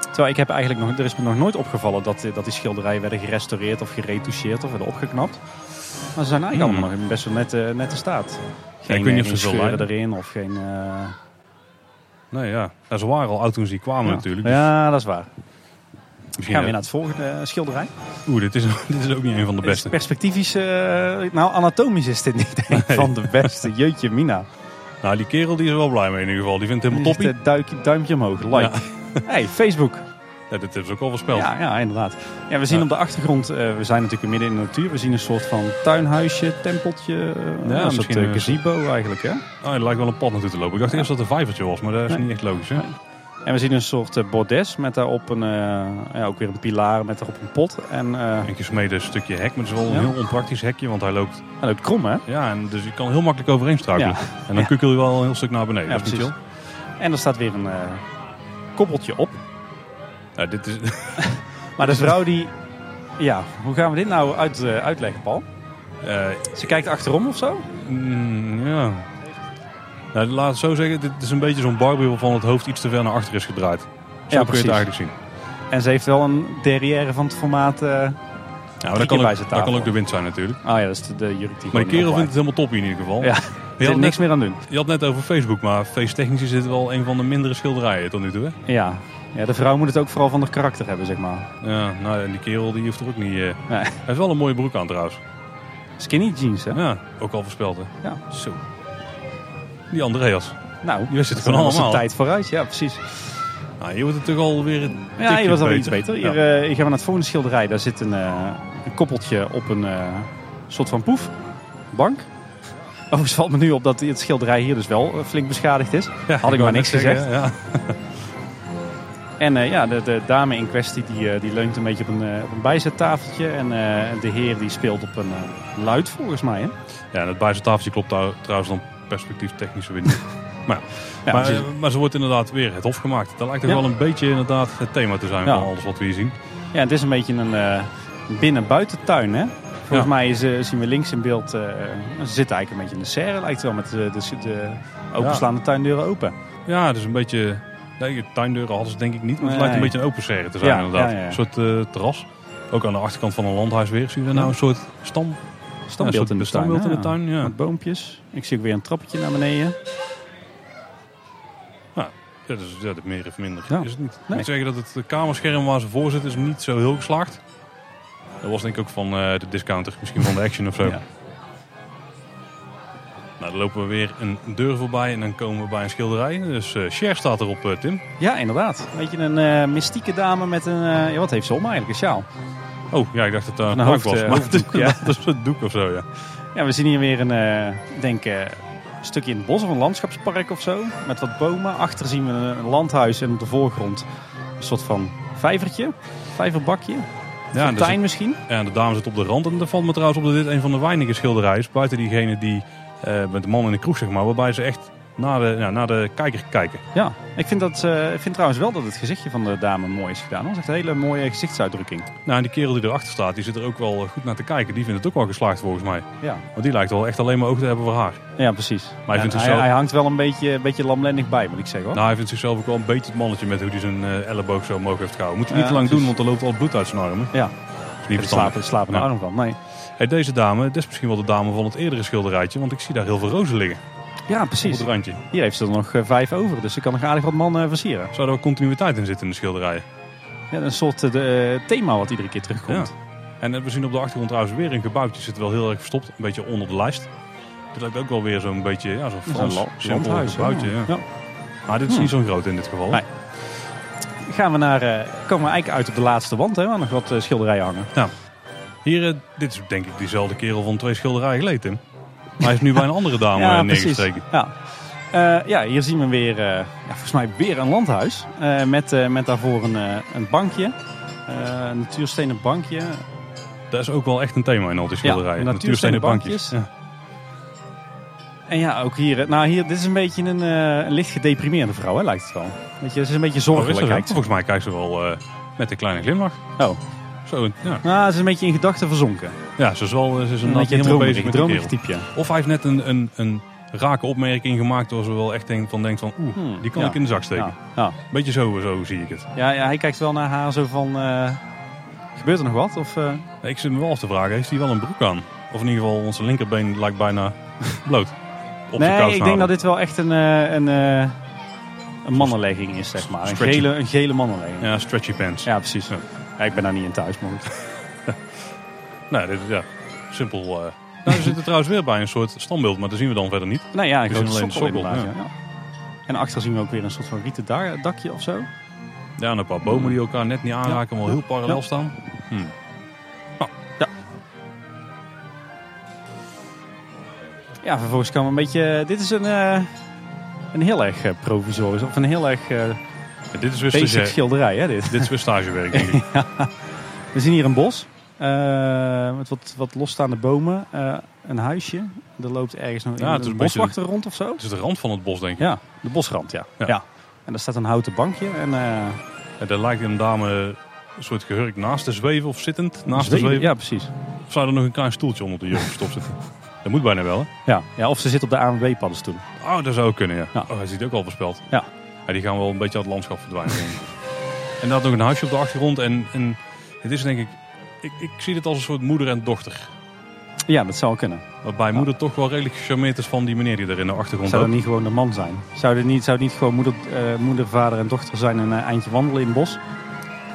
Terwijl ik heb eigenlijk nog, er is me nog nooit opgevallen dat, eh, dat die schilderijen werden gerestaureerd of geretoucheerd of werden opgeknapt. Maar ze zijn eigenlijk
Hmm.
allemaal nog in best wel nette, nette staat. Geen,
ik weet niet
eh,
of ze
geen
zo
scheuren
lijken.
erin of geen... eh,
Nee, ja. Nou, ze waren al oud toen ze hier kwamen
ja.
Oh, natuurlijk.
Ja, dat is waar.
Misschien
Gaan we weer naar
hebben-
het volgende eh, schilderij.
Oeh, dit is, dit is ook niet een van de
Het is
beste.
Perspectief is, eh, nou anatomisch is dit niet een van de beste. Jeetje mina.
Nou, die kerel die is er wel blij mee in ieder geval. Die vindt het helemaal
Dit is
toppie.
het duik, duimpje omhoog, like.
Ja.
Hey, Facebook.
Ja, dit hebben ze ook al voorspeld.
Ja, ja, inderdaad. Ja, we zien
Ja.
op de achtergrond, eh, we zijn natuurlijk midden in de natuur. We zien een soort van tuinhuisje, tempeltje, eh,
Ja,
een soort
misschien
eh,
een
gazebo eigenlijk. Hè?
Oh, er lijkt wel een pad naartoe te lopen. Ik dacht eerst dat het een vijvertje was, maar dat is
Nee.
niet echt logisch. Hè?
Nee. En we zien een soort eh, bordes met daarop een, eh, ja, ook weer een pilaar met daarop een pot. En eh
Een keer smeden een stukje hek, maar het is wel
Ja.
een heel onpraktisch hekje, want hij loopt...
hij loopt krom hè?
Ja, en dus je kan heel makkelijk overheen struikelen.
Ja.
En dan kukkel je wel een heel stuk naar beneden.
Ja,
dat is niet
precies.
chill.
En er staat weer een eh, koppeltje op.
Ja, dit is...
Maar de vrouw die... Ja, hoe gaan we dit nou uit, eh, uitleggen, Paul?
eh,
Ze kijkt achterom of zo?
Mm, ja. Nou, laat het zo zeggen, dit is een beetje zo'n barbie waarvan het hoofd iets te ver naar achter is gedraaid. Zo kun je
precies.
het eigenlijk zien. Nou,
En ze heeft wel een derrière van het formaat. eh,
Ja, maar
keer
dat kan,
bij
ook,
zijn
dat kan
tafel.
ook de wind zijn natuurlijk.
Ah ja, dat is de, de jurk die
Maar die kerel
gewoon
vindt het helemaal top in ieder geval.
Ja,
je,
Er
had
zit niks
net,
meer aan doen.
je had net over Facebook, maar feesttechnisch is dit wel een van de mindere schilderijen tot nu toe. Hè?
Ja. ja, de vrouw moet het ook vooral van haar karakter hebben, zeg maar.
Ja, nou, en die kerel die hoeft er ook niet... eh,
Nee.
Hij heeft wel een mooie broek aan trouwens.
Skinny jeans, hè?
Ja, ook al voorspeld hè.
Ja.
Zo. Die Andreas.
Nou,
Je wist het
dat
gewoon
was een
allemaal.
tijd vooruit. Ja, precies.
Nou, hier wordt het toch alweer een
Ja,
tikje
hier was al iets beter. Hier
Ja.
eh, hier gaan we naar het volgende schilderij. Daar zit een, eh, een koppeltje op een eh, soort van poef. Bank. Overigens valt me nu op dat het schilderij hier dus wel eh, flink beschadigd is.
Ja,
eh, Had ik
wou net
maar niks
zeggen,
gezegd.
Ja.
En eh, ja, de, de dame in kwestie die, eh, die leunt een beetje op een, eh, op een bijzettafeltje. En eh, de heer die speelt op een eh, luid volgens mij. Hè?
Ja, en het bijzettafeltje klopt daar trouwens dan perspectief technisch weer niet. maar, ja,
Ja,
maar,
precies.
eh, maar ze wordt inderdaad weer het hof gemaakt. Dat lijkt toch
Ja.
wel een beetje inderdaad het thema te zijn
Ja.
van alles wat we hier zien.
Ja, het is een beetje een eh, binnen-buitentuin, hè? Volgens
Ja.
mij is, eh, zien we links in beeld, eh, ze zit eigenlijk een beetje in de serre, lijkt het wel, met eh, de, de, de openslaande tuindeuren open.
Ja, dus een beetje... Nee, tuindeuren hadden ze denk ik niet, maar het
Nee.
lijkt een beetje een open serre te zijn
Ja,
inderdaad.
ja, ja, ja.
Een soort eh, terras. Ook aan de achterkant van een landhuis weer. Zien we nou
Ja.
een soort stam, ja, een soort
Standbeeld in de tuin.
standbeeld
hè?
in de tuin? Ja.
Met boompjes. Ik zie ook weer een trappetje naar beneden.
Ja, dus ja, dat meer of minder
Ja.
is het niet.
Nee.
Ik moet zeggen dat het eh, kamerscherm waar ze voor zit is niet zo heel geslaagd. Dat was denk ik ook van eh, de discounter, misschien van de Action of zo.
Ja.
Nou, dan lopen we weer een deur voorbij en dan komen we bij een schilderij. Dus eh Cher staat erop, eh, Tim.
Ja, inderdaad. Weet je, een eh, mystieke dame met een... eh, ja, wat heeft ze om eigenlijk? Een sjaal.
Oh, ja, ik dacht dat daar
Een
een hoofd
hoofd,
was.
eh,
Maar
hoofddoek, ja.
dat is een doek of zo, ja.
Ja, we zien hier weer een, eh, ik denk, eh, een stukje in het bos of een landschapspark of zo. Met wat bomen. Achter zien we een, een landhuis en op de voorgrond een soort van vijvertje. Vijverbakje.
Ja, dus en,
Fontein
er zit-
misschien.
ja, en de dame zit op de rand. En er valt me trouwens op dat dit een van de weinige schilderijen is. Buiten diegene die, eh, met de man in de kroeg, zeg maar. Waarbij ze echt naar de, ja, naar de kijker kijken.
Ja, ik vind, dat, eh, ik vind trouwens wel dat het gezichtje van de dame mooi is gedaan. hoor. Ze heeft een hele mooie gezichtsuitdrukking.
Nou, en die kerel die erachter staat, die zit er ook wel eh, goed naar te kijken. Die vindt het ook wel geslaagd volgens mij.
Ja,
Want die lijkt wel echt alleen maar oog te hebben voor haar.
ja precies.
hij
En
vindt het
hij,
zelf-
hij hangt wel een beetje, een beetje lamlendig bij, moet ik zeggen hoor.
Nou, hij vindt zichzelf ook wel een beetje het mannetje met hoe hij zijn eh, elleboog zo omhoog heeft gehouden. Moet hij niet
Ja,
te lang
precies.
doen, want er loopt al bloed uit zijn armen.
ja,
Dat is niet
er slapen,
verstandig.
er slapen
Ja.
de arm van. Nee.
Hey, deze dame, dit is misschien wel de dame van het eerdere schilderijtje, want ik zie daar heel veel rozen liggen
Ja,
op
precies.
het randje.
Hier heeft ze er nog eh, vijf over, dus ze kan nog aardig wat man eh, versieren.
Zou er wel continuïteit in zitten in de schilderijen?
Ja, een soort eh, de, eh, thema wat iedere keer terugkomt.
En eh, we zien op de achtergrond trouwens weer een gebouwtje, zit wel heel erg verstopt, een beetje onder de lijst. Dit lijkt ook wel weer zo'n beetje, ja, zo'n
Zo'n
Frans
la-
simpel gebouwtje.
ja.
Ja.
Ja.
Maar dit is
Hmm.
niet zo'n groot in dit geval.
Nee. Gaan we naar, eh, komen we eigenlijk uit op de laatste wand, hè, waar nog wat eh, schilderijen hangen.
Hier, eh, dit is denk ik diezelfde kerel van twee schilderijen geleden, Tim. Maar hij is nu bij een andere dame eh, neergestreken.
Ja. Eh, ja, hier zien we weer, eh, ja, volgens mij weer een landhuis. Eh, met, eh, met daarvoor een, eh, een bankje. Eh, een natuurstenen bankje.
Dat is ook wel echt een thema in al die schilderijen.
natuurstenen bankjes.
Ja.
En ja, ook hier. eh, Nou, hier, dit is een beetje een, eh, een licht gedeprimeerde vrouw, hè, lijkt het wel. Weet je, ze is een beetje
Oh, is
zorgelijk.
dat zo?
kijkt ze.
Volgens mij kijkt ze wel eh, met een kleine glimlach.
Oh.
Zo, ja.
Nou, ze is een beetje in gedachten verzonken.
ja, ze is wel eh, ze is
Een
inderdaad
beetje een
helemaal
dromerig,
bezig met die
dromerig
kerel.
typeje.
Of hij heeft net een, een, een rake opmerking gemaakt waar ze wel echt denkt van, denkt van oeh,
Hmm,
die kan
ja.
ik in de zak steken.
Ja. Ja.
Beetje zo, zo zie ik het.
Ja, ja, hij kijkt wel naar haar zo van... eh, gebeurt er nog wat? Of, eh,
Ik zit me wel af te vragen, heeft hij wel een broek aan? Of in ieder geval, onze linkerbeen lijkt bijna bloot. Op zijn
nee, ik denk
koudsnaden.
dat dit wel echt een, eh, een, eh, een mannenlegging is, zeg maar. Een
Stretchy.
gele, een gele mannenlegging. Ja,
Ja, stretchy pants.
precies.
Ja.
Ja, ik ben daar niet in thuis, maar goed.
Nou, dit, ja, simpel. eh. Nou, we zitten trouwens weer bij een soort standbeeld, maar dat zien we dan verder niet.
Nou ja, een
We
grote
zien alleen
sokkel,
de sokkel,
inderdaad, ja. Ja. En achter zien we ook weer een soort van rieten da- dakje of zo.
Ja, en een paar bomen die elkaar net niet aanraken, maar heel parallel
Ja.
staan. Hm. Nou,
Ja, vervolgens komen we een beetje... Dit is een, eh, een heel erg eh, provisorisch, of een heel erg eh,
en dit is weer
basic
stagiair-
schilderij, hè, dit.
Dit is weer stagewerk, denk ik.
We zien hier een bos. eh, met wat, wat losstaande bomen. eh, een huisje. Er loopt ergens nog
Ja, het is
een
een beetje-
boswachter rond of zo.
Het is de rand van het bos, denk ik.
Ja, de bosrand, ja.
Ja.
ja. En daar staat een houten bankje. En, eh,
En daar lijkt een dame een soort gehurk naast te zweven of zittend. Naast te
zweven-
zweven.
Ja, precies.
Of zou er nog een klein stoeltje onder de jurk gestopt zitten? Dat moet bijna wel, hè?
Ja. Ja, of ze zit op de ANWB-paddenstoel.
Oh, dat zou ook kunnen, ja.
Ja.
Oh, hij ziet ook al voorspeld.
Ja.
Ja, die gaan wel een beetje uit het landschap verdwijnen. denk ik. en dat nog een huisje op de achtergrond. En, en het is denk ik... Ik, ik zie dit als een soort moeder en dochter.
Ja, dat zou kunnen.
Waarbij moeder toch wel redelijk gecharmeerd is van die meneer die er in de achtergrond
Zou dat
loopt.
niet gewoon de man zijn? Zou het niet, zou het niet gewoon moeder, eh, moeder, vader en dochter zijn en een eindje wandelen in het bos?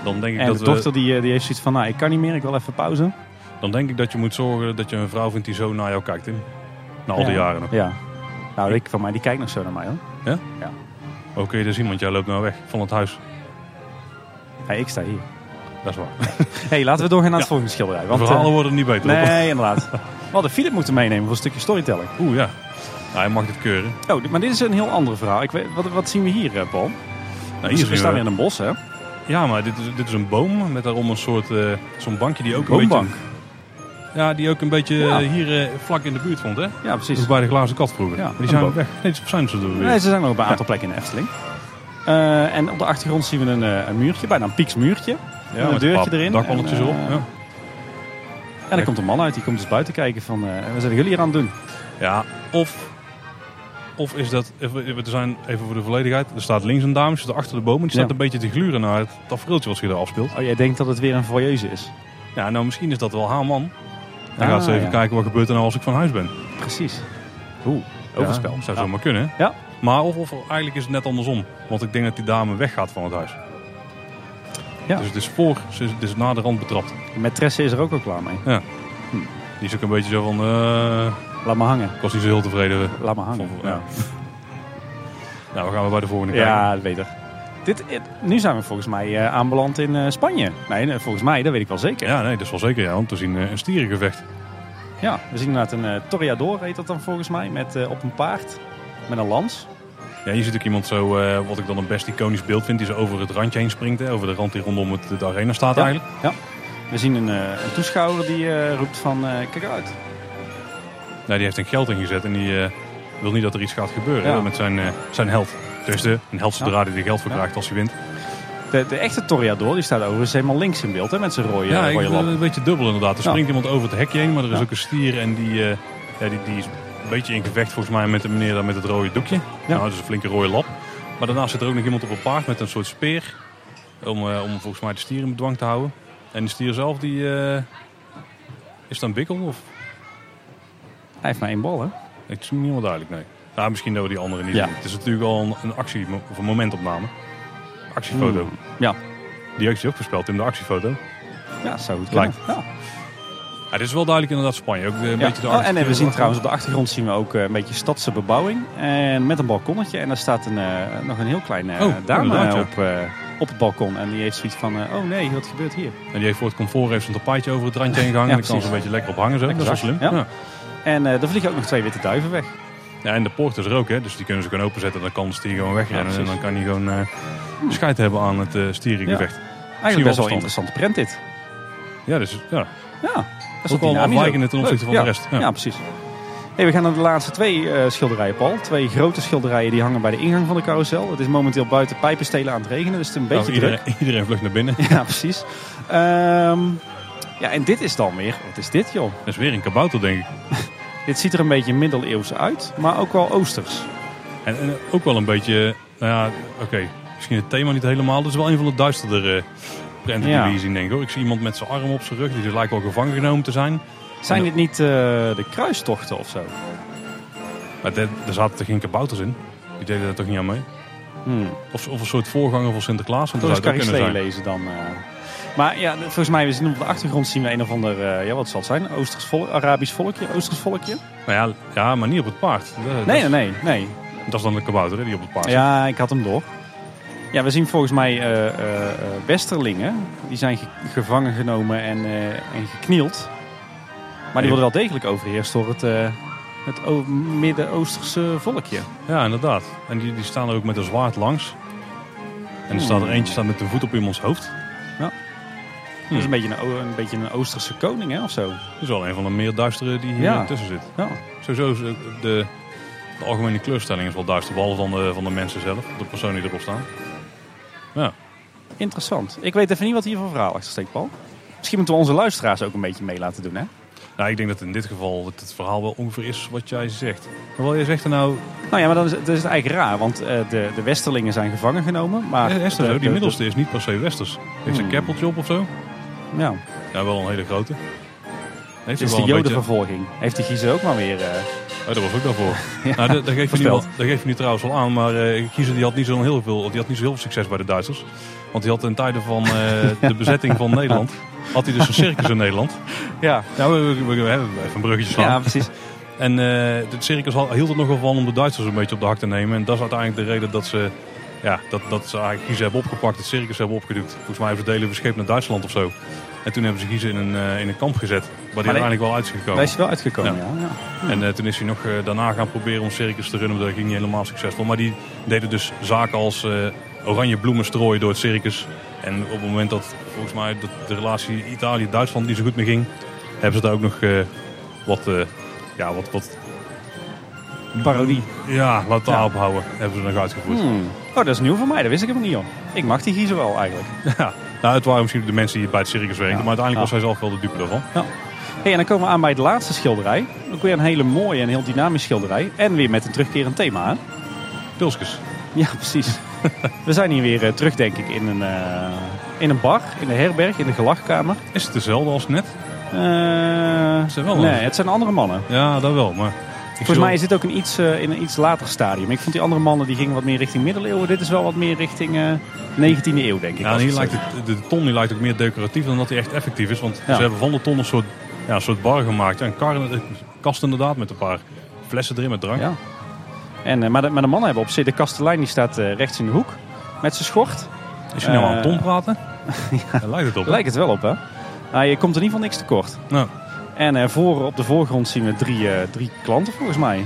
Dan denk, ik
en
dat
de
we-
dochter die, eh, die heeft zoiets van, nou, ik kan niet meer, ik wil even pauze.
dan denk ik dat je moet zorgen dat je een vrouw vindt die zo naar jou kijkt, Tim. Na al die
Ja.
jaren nog.
Ja. Nou, ik van mij, die kijkt nog zo naar mij, hoor.
Hoe kun je dat zien? Want jij loopt nou weg van het huis.
Ja, ik sta hier.
Dat is waar.
hey, laten we doorgaan naar het volgende schilderij.
De
Want,
verhalen
eh,
worden er niet beter op.
nee, inderdaad. We hadden Philip moeten meenemen voor een stukje storytelling.
Oeh, ja. Nou, hij mag dit keuren.
Oh, dit- maar dit is een heel ander verhaal. Ik weet, wat, wat zien we hier, eh, Paul?
Nou, hier
Dus we
zien
staan in
we,
een bos, hè?
ja, maar dit is, dit is een boom met daarom een soort eh, zo'n bankje die ook een
Boombank.
beetje... Ja, die ook een beetje
Ja.
eh, hier eh, vlak in de buurt vond, hè?
Ja, precies.
Dus bij de glazen kat vroeger.
Ja,
Maar die
een
zijn
boom.
weg. Nee, ze zijn ze er weer.
Nee, ze zijn nog op een aantal plekken in de Efteling. Eh, en op de achtergrond zien we een, eh, een muurtje, bijna een piksmuurtje.
ja,
een
met
deurtje
pap-
erin.
Dakpannetjes
En,
erop.
eh,
Ja.
En er komt een man uit, die komt dus buiten kijken van, eh, wat zijn jullie hier aan het doen?
ja, of... Of is dat, even, even- er zijn, even voor de volledigheid, er staat links een dame, die zit achter de boom en die staat
Ja.
een beetje te gluren naar het tafereeltje wat zich daar afspeelt.
Oh, jij denkt dat het weer een voyeuse is.
Ja, nou misschien is dat wel haar man. Dan
Ah,
gaat ze even
ja.
kijken wat gebeurt er nou als ik van huis ben.
Precies. Oeh, overspel.
Ja, zou
Ja.
zomaar kunnen. hè?
Ja.
Maar of, of eigenlijk is het net andersom. Want ik denk dat die dame weggaat van het huis.
Ja.
Dus het is voor, ze is, het is na de rand betrapt.
De maîtresse is er ook al klaar mee.
Die is ook een beetje zo van, eh,
Laat me hangen.
ik was niet zo heel tevreden.
Laat me hangen.
Van- ja. Nou, we gaan weer bij de volgende kijken.
Ja, dat weet ik. Dit, eh, nu zijn we volgens mij eh, aanbeland in eh, Spanje. Nee, nee, volgens mij, dat weet ik wel zeker.
Ja, nee, dat is wel zeker. Ja, want we zien eh, een stierengevecht.
Ja, we zien inderdaad een eh toreador, heet dat dan volgens mij, met, eh, op een paard. Met een lans.
Ja, hier ziet ook iemand zo, eh, wat ik dan een best iconisch beeld vind, die zo over het randje heen springt. Hè, over de rand die rondom het, de arena staat
Ja.
eigenlijk.
We zien een, eh, een toeschouwer die eh, roept van, eh, kijk uit.
Nee, Nou, die heeft een geld ingezet en die eh, wil niet dat er iets gaat gebeuren
Ja.
hè, met zijn, eh, zijn held. Dus de, een held zodra hij er geld voor
Ja.
krijgt als hij wint.
De, de echte toreador, die staat overigens helemaal links in beeld, hè, met zijn rode,
Ja, ik eh,
rode
vind het
lap.
een beetje dubbel inderdaad. Er
Ja.
springt iemand over het hekje heen, maar er is
Ja.
ook een stier en die, eh, ja, die, die is een beetje in gevecht volgens mij met de meneer daar met het rode doekje.
Ja.
Nou, dat is een flinke rode lap. Maar daarnaast zit er ook nog iemand op een paard met een soort speer om, eh, om volgens mij de stier in bedwang te houden. En de stier zelf die eh, is dan bikkel of?
Hij heeft maar één bal, hè?
Het is niet helemaal duidelijk, nee. Ja, misschien dat we die andere niet
Ja.
zien. Het is natuurlijk al een, een actie, of een momentopname. Actiefoto.
Hmm. Ja.
Die heeft hij ook voorspeld in de actiefoto. Ja,
Ja, zou goed
Lijkt.
kunnen. Ja.
dit is wel duidelijk inderdaad Spanje. Ook eh, een
Ja.
beetje de
Oh, en eh, we zien
architectuur.
trouwens op de achtergrond zien we ook eh, een beetje stadse bebouwing. En met een balkonnetje. En daar staat een, eh, nog een heel klein eh,
Oh,
dame
inderdaad,
eh,
ja.
op, eh, op het balkon. En die heeft zoiets van, eh, oh nee, wat gebeurt hier?
En die heeft voor het comfort heeft een tapijtje over het randje heen gehangen.
Ja,
en dan kan ze een
precies.
beetje lekker op hangen zo. Dat is wel slim.
Exact,
Ja.
ja.
Ja.
En eh er vliegen ook nog twee witte duiven weg.
en de poort is er ook, hè. Dus die kunnen ze gewoon openzetten. Dan kan de stier gewoon
Ja,
wegrennen. en
precies.
dan kan hij gewoon eh scheid hebben aan het eh stierengevecht. Ja,
Eigenlijk best wel
verstandig.
een interessante prent dit.
dus ja.
Ja, dat is
Ook wel
dynamisch
afwijkend ten opzichte
Leuk,
van de
ja.
rest, ja.
Ja, precies. Hey, we gaan naar de laatste twee eh, schilderijen, Paul. Twee grote schilderijen die hangen bij de ingang van de carousel. Het is momenteel buiten pijpenstelen aan het regenen, dus het is een beetje
Nou,
druk.
iedereen, iedereen vlucht naar binnen.
Ja, precies. Ehm, ja, en dit is dan weer... Wat is dit, joh?
Dat is weer een kabouter, denk ik.
Dit ziet er een beetje middeleeuws uit, maar ook wel oosters.
En, en ook wel een beetje, nou ja, oké, misschien het thema niet helemaal. Dat is wel een van de duisterder eh prenten
Ja.
die we hier zien, denk ik. Hoor. Ik zie iemand met zijn arm op zijn rug, die lijkt wel gevangen genomen te zijn.
Zijn dit niet eh, de kruistochten of zo?
Maar daar daar zaten toch geen kabouters in? Die deden daar toch niet aan mee?
Hmm.
Of, of een soort voorganger van Sinterklaas, want
Dat
dat
is
zou het ook
Carrie
kunnen zijn.
lezen dan. eh. Maar ja, de- volgens mij, we zien op de achtergrond zien we een of ander, eh, ja wat zal het zijn, Oosters volk, Arabisch volkje, Oosters volkje?
Nou ja, ja, maar niet op het paard. Dat, dat
Nee,
is-
nee, nee, nee.
dat is dan de kabouter hè, die op het paard zit.
Ja, ik had hem door. Ja, we zien volgens mij eh, eh, eh, westerlingen, die zijn ge- gevangen genomen en, eh, en geknield. Maar die worden wel degelijk overheerst door het, eh, het O- Midden-Oosterse volkje.
Ja, inderdaad. En die, die staan er ook met een zwaard langs. En er staat er eentje staat met een voet op iemands hoofd.
Dat
Hm.
is een beetje een, o- een beetje een Oosterse koning, hè, of zo.
Dat is wel een van de meer duistere die hier
Ja.
eh, tussen zit.
Ja.
Sowieso is de, de, de algemene kleurstelling is wel duister, behalve van de, van de mensen zelf, de personen die erop staan.
Interessant. Ik weet even niet wat hier voor verhaal achter steekt, Paul. Misschien moeten we onze luisteraars ook een beetje mee laten doen, hè?
Nou, ik denk dat in dit geval het, het verhaal wel ongeveer is wat jij zegt. Hoewel jij zegt er nou,
Nou ja, maar dan is, dan is het eigenlijk raar, want eh, de, de Westerlingen zijn gevangen genomen. Maar
eh, Esther,
Ah, de-
zo,
de-
die middelste is niet per se Westers. Heeft ze een
Hmm.
keppeltje op of zo?
de- ja,
Ja, wel een hele grote. Heeft
het is
wel
de
een beetje-
Jodenvervolging. Heeft die Giezen ook maar weer. eh,
Oh, dat was ook daarvoor. nou, dat, dat, geeft je nu, wel-
Voorspeld.
dat geeft je nu trouwens wel aan, maar eh Giezen die had, niet zo heel veel, die had niet zo heel veel succes bij de Duitsers. Want die had in tijden van eh, de bezetting van Nederland, had hij dus een circus in Nederland.
ja.
Nou, we, we, we- we hebben even een bruggetje slaan.
ja, precies.
En eh de circus had- hield er nogal van om de Duitsers een beetje op de hak te nemen. En dat is uiteindelijk de reden dat ze Ja, dat, dat ze eigenlijk Giezen hebben opgepakt, het circus hebben opgeduwd. Volgens mij hebben ze delen verscheept naar Duitsland of zo. En toen hebben ze Giezen in een, eh, in een kamp gezet, waar die uiteindelijk wel uit is
Daar
gekomen.
is hij wel uitgekomen, ja. ja.
En eh, toen is hij nog eh, daarna gaan proberen om circus te runnen, maar dat ging niet helemaal succesvol. Maar die deden dus zaken als eh, oranje bloemen strooien door het circus. En op het moment dat volgens mij de, de relatie Italië-Duitsland niet zo goed meer ging, hebben ze daar ook nog eh, wat, eh, ja, wat, wat
Parodie.
Ja, laat daar
Ja.
ophouden. Hebben ze nog uitgevoerd.
Hmm. Oh, dat is nieuw voor mij. Dat wist ik helemaal niet, joh. Ik mag die Giezen wel, eigenlijk.
Ja. Nou, het waren misschien de mensen die bij het circus werkten.
Ja.
Maar uiteindelijk was
Ja.
hij zelf wel de dupe daarvan.
Hey, en dan komen we aan bij de laatste schilderij. Ook weer een hele mooie en heel dynamische schilderij. En weer met een terugkerend thema. Hè?
Pilskes.
Ja, precies. we zijn hier weer eh, terug, denk ik, in een, eh, in een bar, in de herberg, in de gelachkamer.
Is het dezelfde als net?
Eh,
zijn wel
nee,
anders.
het zijn andere mannen.
Ja, dat wel. Maar ik
Volgens
wil-
mij is dit ook een iets, eh, in een iets later stadium. Ik vond die andere mannen die gingen wat meer richting middeleeuwen. Dit is wel wat meer richting eh 19e eeuw, denk ik.
Ja, en
als
hier
ik
lijkt
zo-
het, de ton die lijkt ook meer decoratief dan dat hij echt effectief is. Want
Ja.
ze hebben van de ton een soort, ja, een soort bar gemaakt. Ja, Een, kar, een kast inderdaad met een paar flessen erin met drank.
Ja. En, eh, maar, de, maar de mannen hebben op zich, de kastelein die staat eh, rechts in de hoek met zijn schort.
Is hij nou
Eh,
aan ton praten? Daar lijkt het op. hè?
Lijkt het wel op, hè? Nou, je komt er in ieder geval niks tekort.
Nou,
En eh, voor, op de voorgrond zien we drie, eh, drie klanten, volgens mij.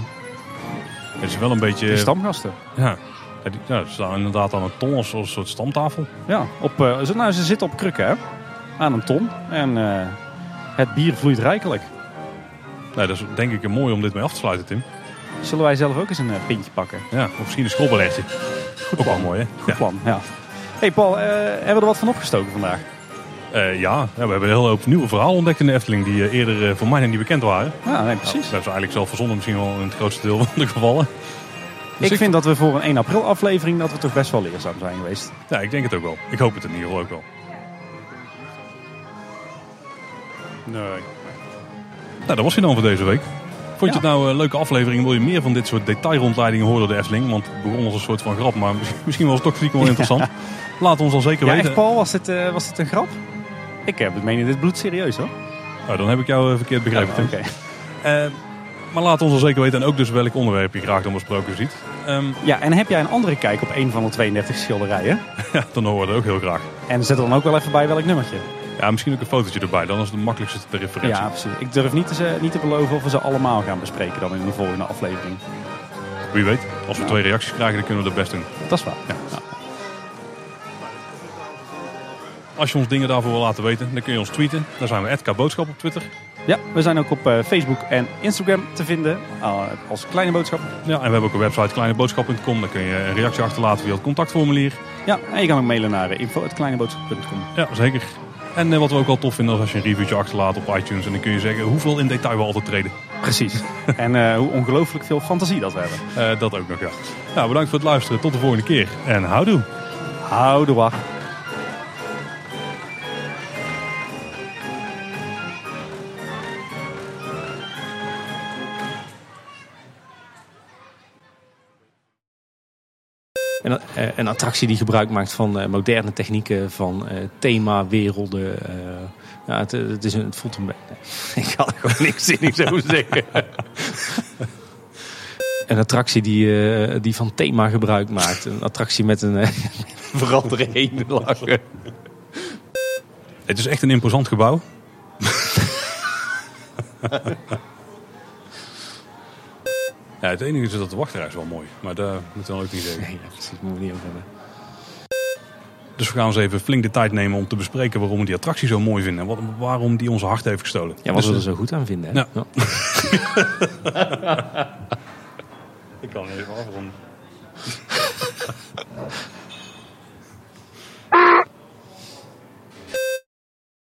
het is wel een beetje...
Drie stamgasten.
ja. Ja, die- Ja, ze staan inderdaad aan een ton als als een soort stamtafel.
Ja, op, eh, ze, nou, ze zitten op krukken, hè? Aan een ton. En eh, het bier vloeit rijkelijk.
Nou, dat is denk ik een mooi om dit mee af te sluiten, Tim.
Zullen wij zelf ook eens een eh, pintje pakken?
Ja, of misschien een schrobbelertje. Ook wel mooi, hè?
Goed plan, ja. hey Paul, eh, hebben we er wat van opgestoken vandaag?
Eh, ja. ja, we hebben een hele hoop nieuwe verhalen ontdekt in de Efteling die eh, eerder eh, voor mij nog niet bekend waren.
Ja, nee,
Nou,
precies.
we hebben ze eigenlijk zelf verzonnen, misschien wel in het grootste deel van de gevallen.
dus ik, vind dat we voor een 1 april aflevering dat we toch best wel leerzaam zijn geweest.
Ja, ik denk het ook wel. Ik hoop het in ieder geval ook wel.
Nee.
Nou, dat was hij dan voor deze week. Vond je
Ja.
het nou een leuke aflevering? Wil je meer van dit soort detailrondleidingen horen door de Efteling? Want het begon als een soort van grap, maar misschien- misschien was het toch stiekem wel interessant. Laat ons dan zeker
Ja,
weten.
echt Paul, was dit, eh, was dit een grap? Ik heb het meen dit bloed serieus hoor.
Nou, dan heb ik jou eh, verkeerd begrepen, Tim.
Oké.
Eh, maar laat ons dan zeker weten en ook dus welk onderwerp je graag dan besproken ziet. Ehm,
Ja, en heb jij een andere kijk op een van de 32 schilderijen?
ja, dan horen we dat ook heel graag.
En zet er dan ook wel even bij welk nummertje.
Ja, misschien ook een fotootje erbij. Dan is het de makkelijkste de referentie.
Ja, precies. Ik durf niet te, ze- niet te beloven of we ze allemaal gaan bespreken dan in de volgende aflevering.
Wie weet. Als we twee reacties krijgen, dan kunnen we dat best doen.
Dat is waar. Ja.
Als je ons dingen daarvoor wil laten weten, dan kun je ons tweeten. Daar zijn we @kboodschap op Twitter.
Ja, we zijn ook op eh, Facebook en Instagram te vinden eh, als kleine boodschap.
Ja, en we hebben ook een website kleineboodschap.com. Daar kun je een reactie achterlaten via het contactformulier.
Ja, en je kan ook mailen naar eh, info.kleineboodschap.com.
Ja, zeker. En eh, wat we ook wel tof vinden is als je een reviewtje achterlaat op iTunes. En dan kun je zeggen hoeveel in detail we altijd treden.
Precies. en eh, hoe ongelooflijk veel fantasie dat we hebben.
Eh, dat ook nog, ja. Nou, bedankt voor het luisteren. Tot de volgende keer. En houdoe.
Houden wacht.
Een, eh, een attractie die gebruik maakt van eh, moderne technieken, van eh, thema, werelden. eh, ja, het, het, is een, het voelt een beetje... Ik had er gewoon niks in, ik zou zeggen. Een attractie die, eh, die van thema gebruik maakt. Een attractie met een... eh, Vooral erheen lachen.
Het is echt een imposant gebouw. ja, het enige is dat de wachtrij is wel mooi. Maar daar moeten we dan ook niet zeggen.
Nee, ja, precies, moeten we niet over hebben.
Dus we gaan eens even flink de tijd nemen om te bespreken waarom we die attractie zo mooi vinden. En wat, waarom die onze hart heeft gestolen.
Ja, wat
Dus,
we er zo goed aan vinden. Hè?
Ja.
Ja.
eh, Ik kan even afronden.